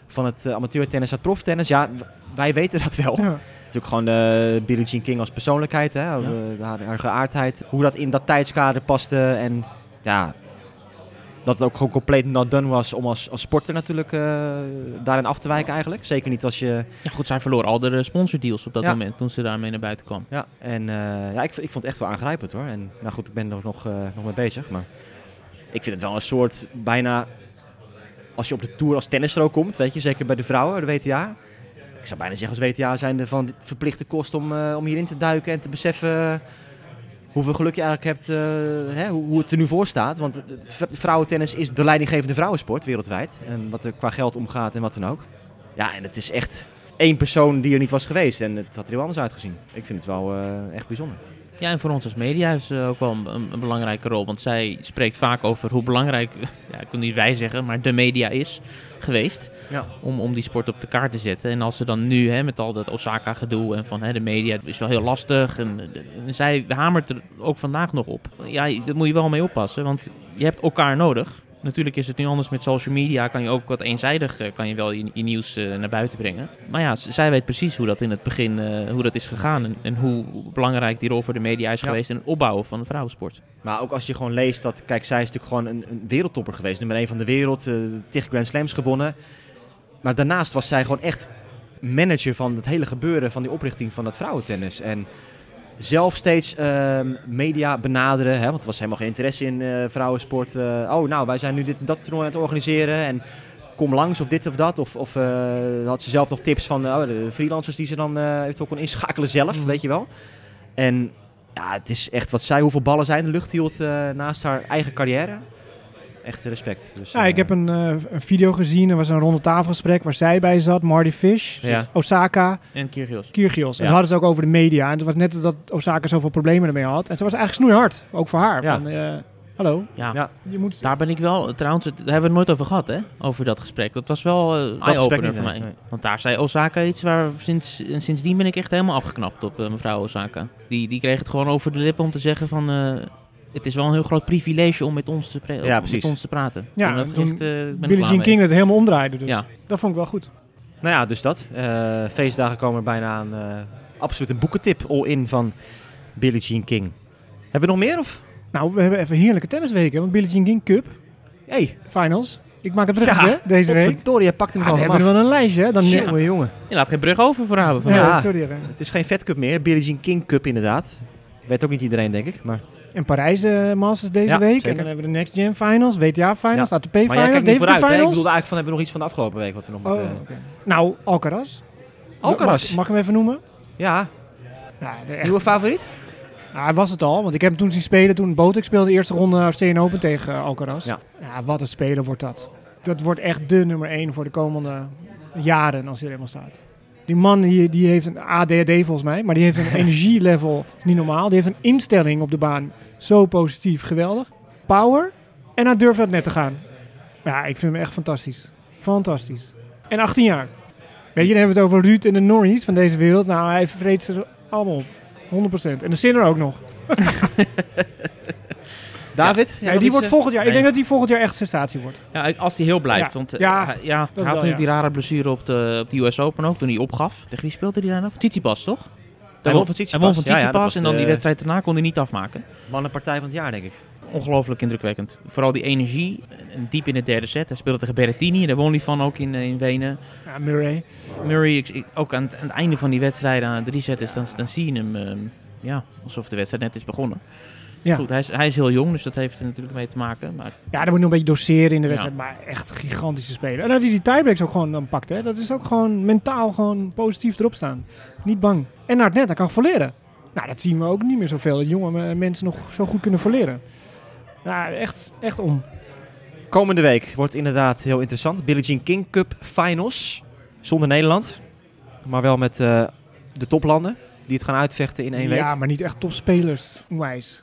S1: van het eh, amateurtennis naar het proftennis. Ja, w- wij weten dat wel.
S3: Ja.
S1: Natuurlijk gewoon eh Billie Jean King als persoonlijkheid, hè, eh, haar, haar geaardheid. Hoe dat in dat tijdskader paste en ja, dat het ook gewoon compleet not done was om als, als sporter natuurlijk eh, daarin af te wijken eigenlijk. Zeker niet als je...
S4: Ja, goed, zij verloor al de eh, sponsordeals op dat
S1: Ja.
S4: moment toen ze daarmee naar buiten kwam.
S1: Ja, en eh, ja, ik, ik vond het echt wel aangrijpend hoor. En nou goed, ik ben er ook nog, eh, nog mee bezig. Maar ik vind het wel een soort bijna... Als je op de Tour als tennisser ook komt, weet je, zeker bij de vrouwen, de WTA. Ik zou bijna zeggen als WTA zijn er van verplichte kost om, eh, om hierin te duiken en te beseffen hoeveel geluk je eigenlijk hebt, eh, hè, hoe, hoe het er nu voor staat. Want het- het v- vrouwentennis is de leidinggevende vrouwensport wereldwijd. En wat er qua geld omgaat en wat dan ook. Ja, en het is echt één persoon die er niet was geweest. En het had er heel anders uitgezien. Ik vind het wel eh, echt bijzonder.
S4: Ja, en voor ons als media is eh, ook wel een, een- een belangrijke rol. Want zij spreekt vaak over hoe belangrijk, ja, ik wil niet wij zeggen, maar de media is geweest.
S1: Ja.
S4: Om, om die sport op de kaart te zetten. En als ze dan nu hè, met al dat Osaka-gedoe en van hè, de media het is wel heel lastig. En, eh, de- en zij hamert er ook vandaag nog op. Ja, daar moet je wel mee oppassen, want je hebt elkaar nodig. Natuurlijk is het nu anders met social media. Kan je ook wat eenzijdig eh, kan je wel je, je nieuws eh, naar buiten brengen. Maar ja, z- zij weet precies hoe dat in het begin eh, hoe dat is gegaan. En, en hoe belangrijk die rol voor de media is
S1: Ja.
S4: geweest in het opbouwen van de vrouwensport.
S1: Maar ook als je gewoon leest dat, kijk, zij is natuurlijk gewoon een, een wereldtopper geweest. Nummer 1 van de wereld, eh tig Grand Slams gewonnen. Maar daarnaast was zij gewoon echt manager van het hele gebeuren van die oprichting van dat vrouwentennis. En zelf steeds ehm, media benaderen, hè, want er was helemaal geen interesse in eh, vrouwensport. Eh, oh, nou, wij zijn nu dit en dat toernooi aan het organiseren en kom langs of dit of dat. Of, of eh, had ze zelf nog tips van oh, de freelancers die ze dan eh eventueel kon inschakelen zelf,
S3: Mm.
S1: weet je wel. En ja, het is echt wat zij, hoeveel ballen zij in de lucht hield eh, naast haar eigen carrière. Echt respect. Dus,
S3: Ja,
S1: eh,
S3: ik heb een, eh, een video gezien. Er was een ronde tafelgesprek waar zij bij zat. Marty Fish,
S1: Ja.
S3: Osaka,
S4: En Kyrgios.
S3: Kyrgios. En
S1: Ja.
S3: dan hadden ze het ook over de media. En het was net dat Osaka zoveel problemen ermee had. En ze was eigenlijk snoeihard. Ook voor haar.
S1: Ja.
S3: Van, eh, hallo,
S4: Ja.
S1: Ja.
S3: je moet...
S4: Daar ben ik wel, trouwens, het- daar hebben we het nooit over gehad, hè? Over dat gesprek. Dat was wel eh, een
S1: gesprek
S4: eye-opener
S1: niet,
S4: voor mij.
S1: nee, nee.
S4: Want daar zei Osaka iets waar sinds, en sindsdien ben ik echt helemaal afgeknapt op eh, mevrouw Osaka. Die, die kreeg het gewoon over de lippen om te zeggen van... eh, het is wel een heel groot privilege om met ons te, pre- om met
S1: precies.
S4: ons te praten.
S3: Ja,
S4: En dat
S3: en
S4: is echt,
S3: toen
S4: eh, ik ben er
S3: Billie
S4: klaar
S3: Jean
S4: mee.
S3: King dat helemaal omdraaide. Dus
S4: Ja.
S3: dat vond ik wel goed.
S1: Nou ja, dus dat. Eh, feestdagen komen er bijna aan. eh, absoluut een boekentip all-in van Billie Jean King. Hebben we nog meer of?
S3: Nou, we hebben even heerlijke tennisweken. Want Billie Jean King Cup
S1: Hey,
S3: Finals. Ik maak het bruggetje
S1: Ja,
S3: deze week.
S1: Victoria pakt hem
S3: Ah, we
S1: gewoon
S3: hebben er
S1: vanaf.
S3: wel een lijstje. hè? Dan
S4: Ja.
S1: Jongen, jongen.
S4: Je laat geen brug over voor haar.
S3: Ja,
S4: vandaag.
S1: Ja.
S3: sorry. hè.
S1: Het is geen Fed Cup meer. Billie Jean King Cup inderdaad. Weet ook niet iedereen, denk ik. Maar,
S3: En Parijs eh, Masters deze
S1: Ja,
S3: week. En
S1: zeker.
S3: dan hebben we de Next Gen Finals, WTA Finals, ATP
S1: maar jij
S3: Finals,
S1: kijkt niet
S3: Davis
S1: vooruit. Hè? Ik bedoelde
S3: Finals.
S1: eigenlijk van, hebben we nog iets van de afgelopen week wat we nog moeten...
S3: Oh, oké. Nou, Alcaraz.
S1: Alcaraz.
S3: Mag, mag ik hem even noemen?
S1: Ja,
S3: Ja, de- echt,
S1: nieuwe favoriet?
S3: Nou, hij was het al, want ik heb hem toen zien spelen toen Botek speelde de eerste ronde Australian Open tegen eh, Alcaraz.
S1: Ja.
S3: wat een speler wordt dat. Dat wordt echt de nummer één voor de komende jaren als hij er helemaal staat. Die man die, die heeft een ADHD volgens mij, maar die heeft een energielevel, is niet normaal. Die heeft een instelling op de baan, zo positief, geweldig. Power en hij durft naar het net te gaan. Ja, ik vind hem echt fantastisch. Fantastisch. En 18 jaar. Weet je, dan hebben we het over Ruud en de Norries van deze wereld. Nou, hij vreet ze allemaal op. 100%. En de Sinner ook nog.
S1: David? jij
S3: Nee,
S1: nog
S3: die
S1: iets,
S3: wordt
S1: eh?
S3: volgend jaar. Ik
S4: nee.
S3: denk dat die volgend jaar echt sensatie wordt.
S4: Ja, ik- als hij heel blijft.
S3: Ja.
S4: Want eh,
S3: Ja,
S4: hij- ja, hij
S3: wel,
S4: had natuurlijk
S3: ja.
S4: die rare blessure op de, op de US Open ook, toen hij opgaf. Tegen wie speelde hij daar nou? Tsitsipas, toch?
S1: Hij won van Tsitsipas.
S4: Hij won van
S1: Ja, ja, dat
S4: Tsitsipas
S1: was
S4: en dan
S1: de-
S4: die wedstrijd daarna kon hij niet afmaken.
S1: Mannenpartij van het jaar, denk ik.
S4: Ongelooflijk indrukwekkend. Vooral die energie, en diep in de derde set. Hij speelde tegen Berrettini, daar won hij van ook in, eh, in Wenen.
S3: Ja, Murray.
S4: Murray, ik- ik- ook aan het, aan het einde van die wedstrijd, aan drie setters, dan, dan zie je hem ehm, ja, alsof de wedstrijd net is begonnen.
S3: Ja.
S4: Goed, hij is, hij is heel jong, dus dat heeft er natuurlijk mee te maken. Maar
S3: Ja, daar moet je nog een beetje doseren in de
S4: Ja.
S3: wedstrijd. Maar echt gigantische speler. En dat hij die tiebreaks ook gewoon dan pakt. Hè. Dat is ook gewoon mentaal gewoon positief erop staan. Niet bang. En naar het net, hij kan volleren. Nou, dat zien we ook niet meer zoveel. Dat jonge eh, mensen nog zo goed kunnen volleren. Ja, echt, echt om.
S1: Komende week wordt inderdaad heel interessant. Billie Jean King Cup Finals. Zonder Nederland. Maar wel met eh, de toplanden. Die het gaan uitvechten in één week.
S3: Ja, maar niet echt topspelers. Onwijs.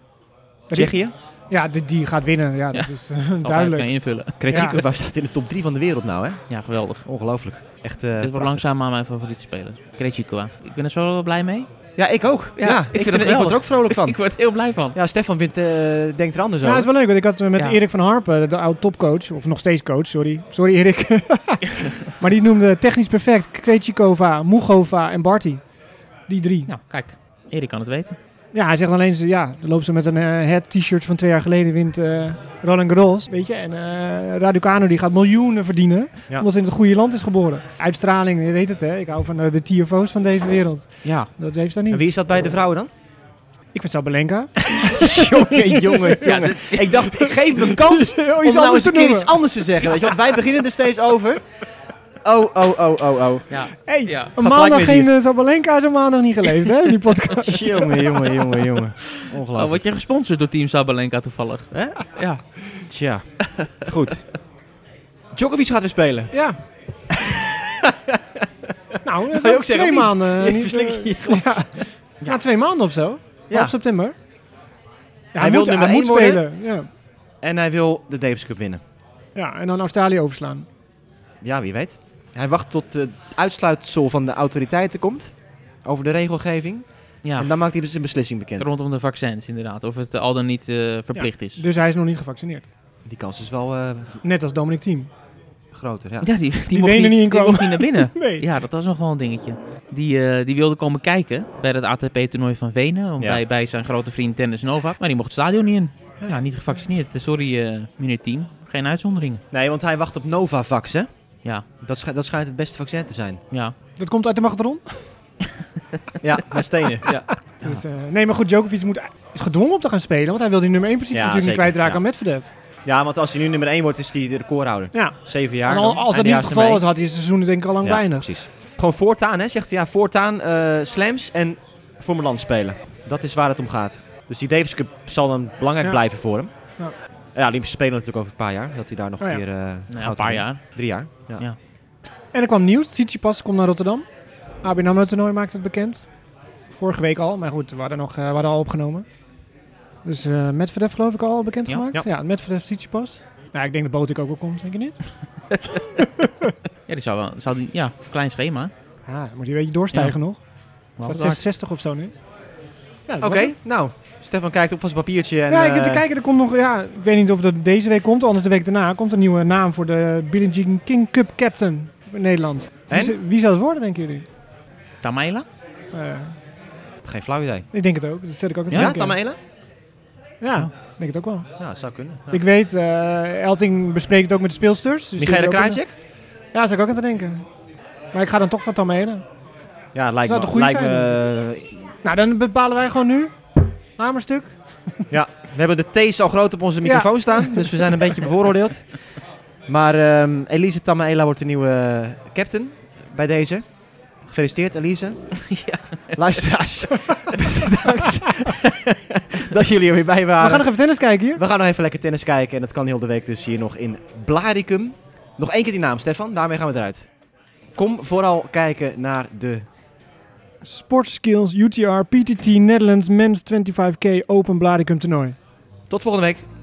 S3: Dat is-
S1: Tsjechië.
S3: Ja, die, die gaat winnen. Ja, dat is eh,
S4: zal hij het
S3: duidelijk.
S4: mee invullen.
S1: Krejcikova staat in de top 3 van de wereld nou, hè?
S4: Ja, geweldig.
S1: Ongelooflijk. Echt, eh,
S4: Dit wordt
S1: prachtig.
S4: langzaamaan mijn favoriete speler. Krejcikova. Ik ben er zo wel blij mee.
S1: Ja, ik ook. Ja,
S4: Ja,
S1: ik,
S4: ik vind
S1: vind het, ik
S4: het
S1: word
S4: geweldig.
S1: er ook vrolijk van.
S4: Ik word heel blij van.
S1: Ja, Stefan wint, eh, denkt er anders
S3: Ja, dat
S1: over.
S3: is wel leuk. Want ik had eh, met
S4: Ja.
S3: Erik van Harpen, de oude topcoach, of nog steeds coach, sorry. Sorry Erik. maar die noemde technisch perfect Krejcikova, Mugova en Barty. Die drie.
S4: Nou, kijk. Erik kan het weten.
S3: Ja, hij zegt alleen, ja, dan loopt ze met een eh, het t-shirt van twee jaar geleden, wint eh Roland Garros, weet je. En eh Raducanu die gaat miljoenen verdienen,
S1: Ja.
S3: omdat ze in het goede land is geboren. Uitstraling, je weet het hè, ik hou van eh, de TFO's van deze wereld.
S1: Ja.
S3: Dat heeft ze daar
S1: En
S3: niet.
S1: wie is dat bij de vrouwen dan?
S3: Ik vind Sabalenka.
S1: jongen, jongen, jongen. ik dacht, ik geef me een kans
S3: Oh,
S1: om
S3: iets
S1: nou
S3: anders
S1: eens
S3: te
S1: een keer iets
S3: noemen.
S1: anders te zeggen. Weet je, want wij beginnen er steeds over. Oh, oh, oh, oh, oh.
S4: Ja.
S3: Hey,
S4: Ja.
S3: een
S1: Gaat
S3: maandag
S1: gelijk met
S3: geen eh, Sabalenka is een maandag niet geleefd hè, die podcast.
S1: Jongen, jongen, jongen, jongen.
S4: Oh,
S1: Ongelooflijk.
S4: word je gesponsord door Team Sabalenka toevallig?
S1: Hè?
S4: Ja.
S1: Tja, goed. Djokovic gaat weer spelen.
S3: Ja. nou, dat
S1: je
S3: is
S1: ook zeggen,
S3: twee
S1: of niet?
S3: maanden.
S1: Je
S3: eh, niet,
S1: verslik je
S3: eh,
S1: je glas.
S3: ja. Ja, twee maanden of zo.
S1: Ja.
S3: Half september. Ja,
S1: wil
S3: hij, wil moet,
S1: nummer
S3: hij
S1: één
S3: moet
S1: worden.
S3: spelen. Ja.
S1: En hij wil de Davis Cup winnen.
S3: ja, en dan Australië overslaan.
S1: Ja, wie weet. Hij wacht tot eh, het uitsluitsel van de autoriteiten komt. Over de regelgeving.
S4: ja.
S1: En dan maakt hij zijn beslissing bekend.
S4: Rondom de vaccins inderdaad. Of het eh, al dan niet eh, verplicht is.
S3: Dus hij is nog niet gevaccineerd.
S1: Die kans is wel eh, v-
S3: Net als Dominic Thiem.
S1: groter, ja.
S4: Ja, die, die,
S3: Die
S4: mocht,
S3: benen niet in
S4: niet, die
S3: kwamen.
S4: mocht niet naar binnen.
S3: Nee.
S4: Ja, dat was nog wel een dingetje. Die, eh, die wilde komen kijken bij het ATP-toernooi van Venen. om
S1: Ja.
S4: Bij, bij zijn grote vriend Tennis Novak. Maar die mocht het stadion niet in. Ja, niet gevaccineerd. Eh, Sorry, eh meneer Team. Geen uitzonderingen.
S1: Nee, want hij wacht op Novavax, hè.
S4: Ja,
S1: Dat, schij- dat schijnt het beste vaccin te zijn.
S4: ja. Nou
S3: Dat komt uit de magnetron.
S1: Ja, met stenen.
S3: Dus, eh, nee, maar goed, Djokovic moet, is gedwongen om te gaan spelen. Want hij wil die nummer 1 positie
S1: Ja,
S3: natuurlijk
S1: zeker,
S3: niet kwijtraken
S1: ja.
S3: aan Medvedev.
S1: Ja, want als hij nu nummer 1 wordt, is hij de recordhouder.
S3: Ja.
S1: Zeven jaar.
S3: En al-
S1: dan.
S3: als dat
S1: En
S3: niet
S1: hij
S3: het
S1: is
S3: geval
S1: ermee.
S3: was, had hij het seizoen denk ik al lang
S1: Ja,
S3: weinig.
S1: Precies. Gewoon voortaan, hè? Zegt hij ja, voortaan eh, slams en voor mijn land spelen. Dat is waar het om gaat. Dus die Davis Cup zal dan belangrijk
S3: Ja.
S1: blijven voor hem.
S3: Ja.
S1: Ja. Olympische Spelen natuurlijk over een paar jaar. Dat hij daar nog
S3: Oh
S1: een
S3: ja.
S1: keer. eh,
S4: Nou,
S1: goud
S4: een paar
S1: wint.
S4: jaar.
S1: Drie jaar. Ja.
S4: Ja.
S3: En er kwam nieuws. Tsitsipas komt naar Rotterdam. AB AMRO toernooi maakt het bekend. Vorige week al, maar goed, we hadden, nog, eh, we hadden al opgenomen. Dus eh Medvedev geloof ik al bekend
S4: Ja.
S3: gemaakt. Ja, Medvedev Tsitsipas. Nou, ik denk dat Botik ook wel komt, denk je niet?
S4: Ja, die zou wel. Zou die, ja, het is een klein schema.
S3: Ja, dan moet je een beetje doorstijgen nog.
S4: Wel
S3: Staat
S4: raak.
S3: 66 of zo nu. Ja, dat
S1: Oké,
S3: was het.
S1: nou. Stefan kijkt op van zijn papiertje. En,
S3: Ja, ik zit te
S1: eh,
S3: kijken. Er komt nog, ja, ik weet niet of dat deze week komt, anders de week daarna komt een nieuwe naam voor de Billie Jean King Cup captain in Nederland. Wie,
S1: En?
S3: zou- wie zou het worden, denken jullie?
S4: Tamaila?
S3: Eh,
S1: Geen flauw idee.
S3: ik denk het ook. Dat zet ik ook in
S1: Ja,
S3: het
S1: ja
S3: denken.
S1: Tamela?
S3: Ja, ik denk het ook wel.
S1: Ja, zou kunnen. Ja.
S3: Ik weet, eh, Elting bespreekt het ook met de speelsters. Dus
S1: Michaela
S3: die hebben ook
S1: Krajicek?
S3: een- Ja, daar zou ik ook aan te denken. Maar ik ga dan toch van Tamelen.
S1: Ja, lijkt
S3: Zou
S1: me. eh,
S3: toch goed
S1: lijkt
S3: zijn?
S1: me
S3: Nou, dan bepalen wij gewoon nu. Hamerstuk.
S1: Ja, we hebben de T's al groot op onze microfoon staan, dus we zijn een beetje bevooroordeeld. Maar ehm, Elise Tamaela wordt de nieuwe captain bij deze. Gefeliciteerd, Elise. Luisteraars, bedankt dat jullie er weer bij
S3: We gaan
S1: waren.
S3: nog even tennis kijken hier.
S1: We gaan nog even lekker tennis kijken en dat kan heel de week dus hier nog in Blaricum. Nog één keer die naam, Stefan, daarmee gaan we eruit. Kom vooral kijken naar de...
S3: Sportskills, UTR, PTT, Netherlands, Men's 25K Open Bladicum toernooi.
S1: Tot volgende week.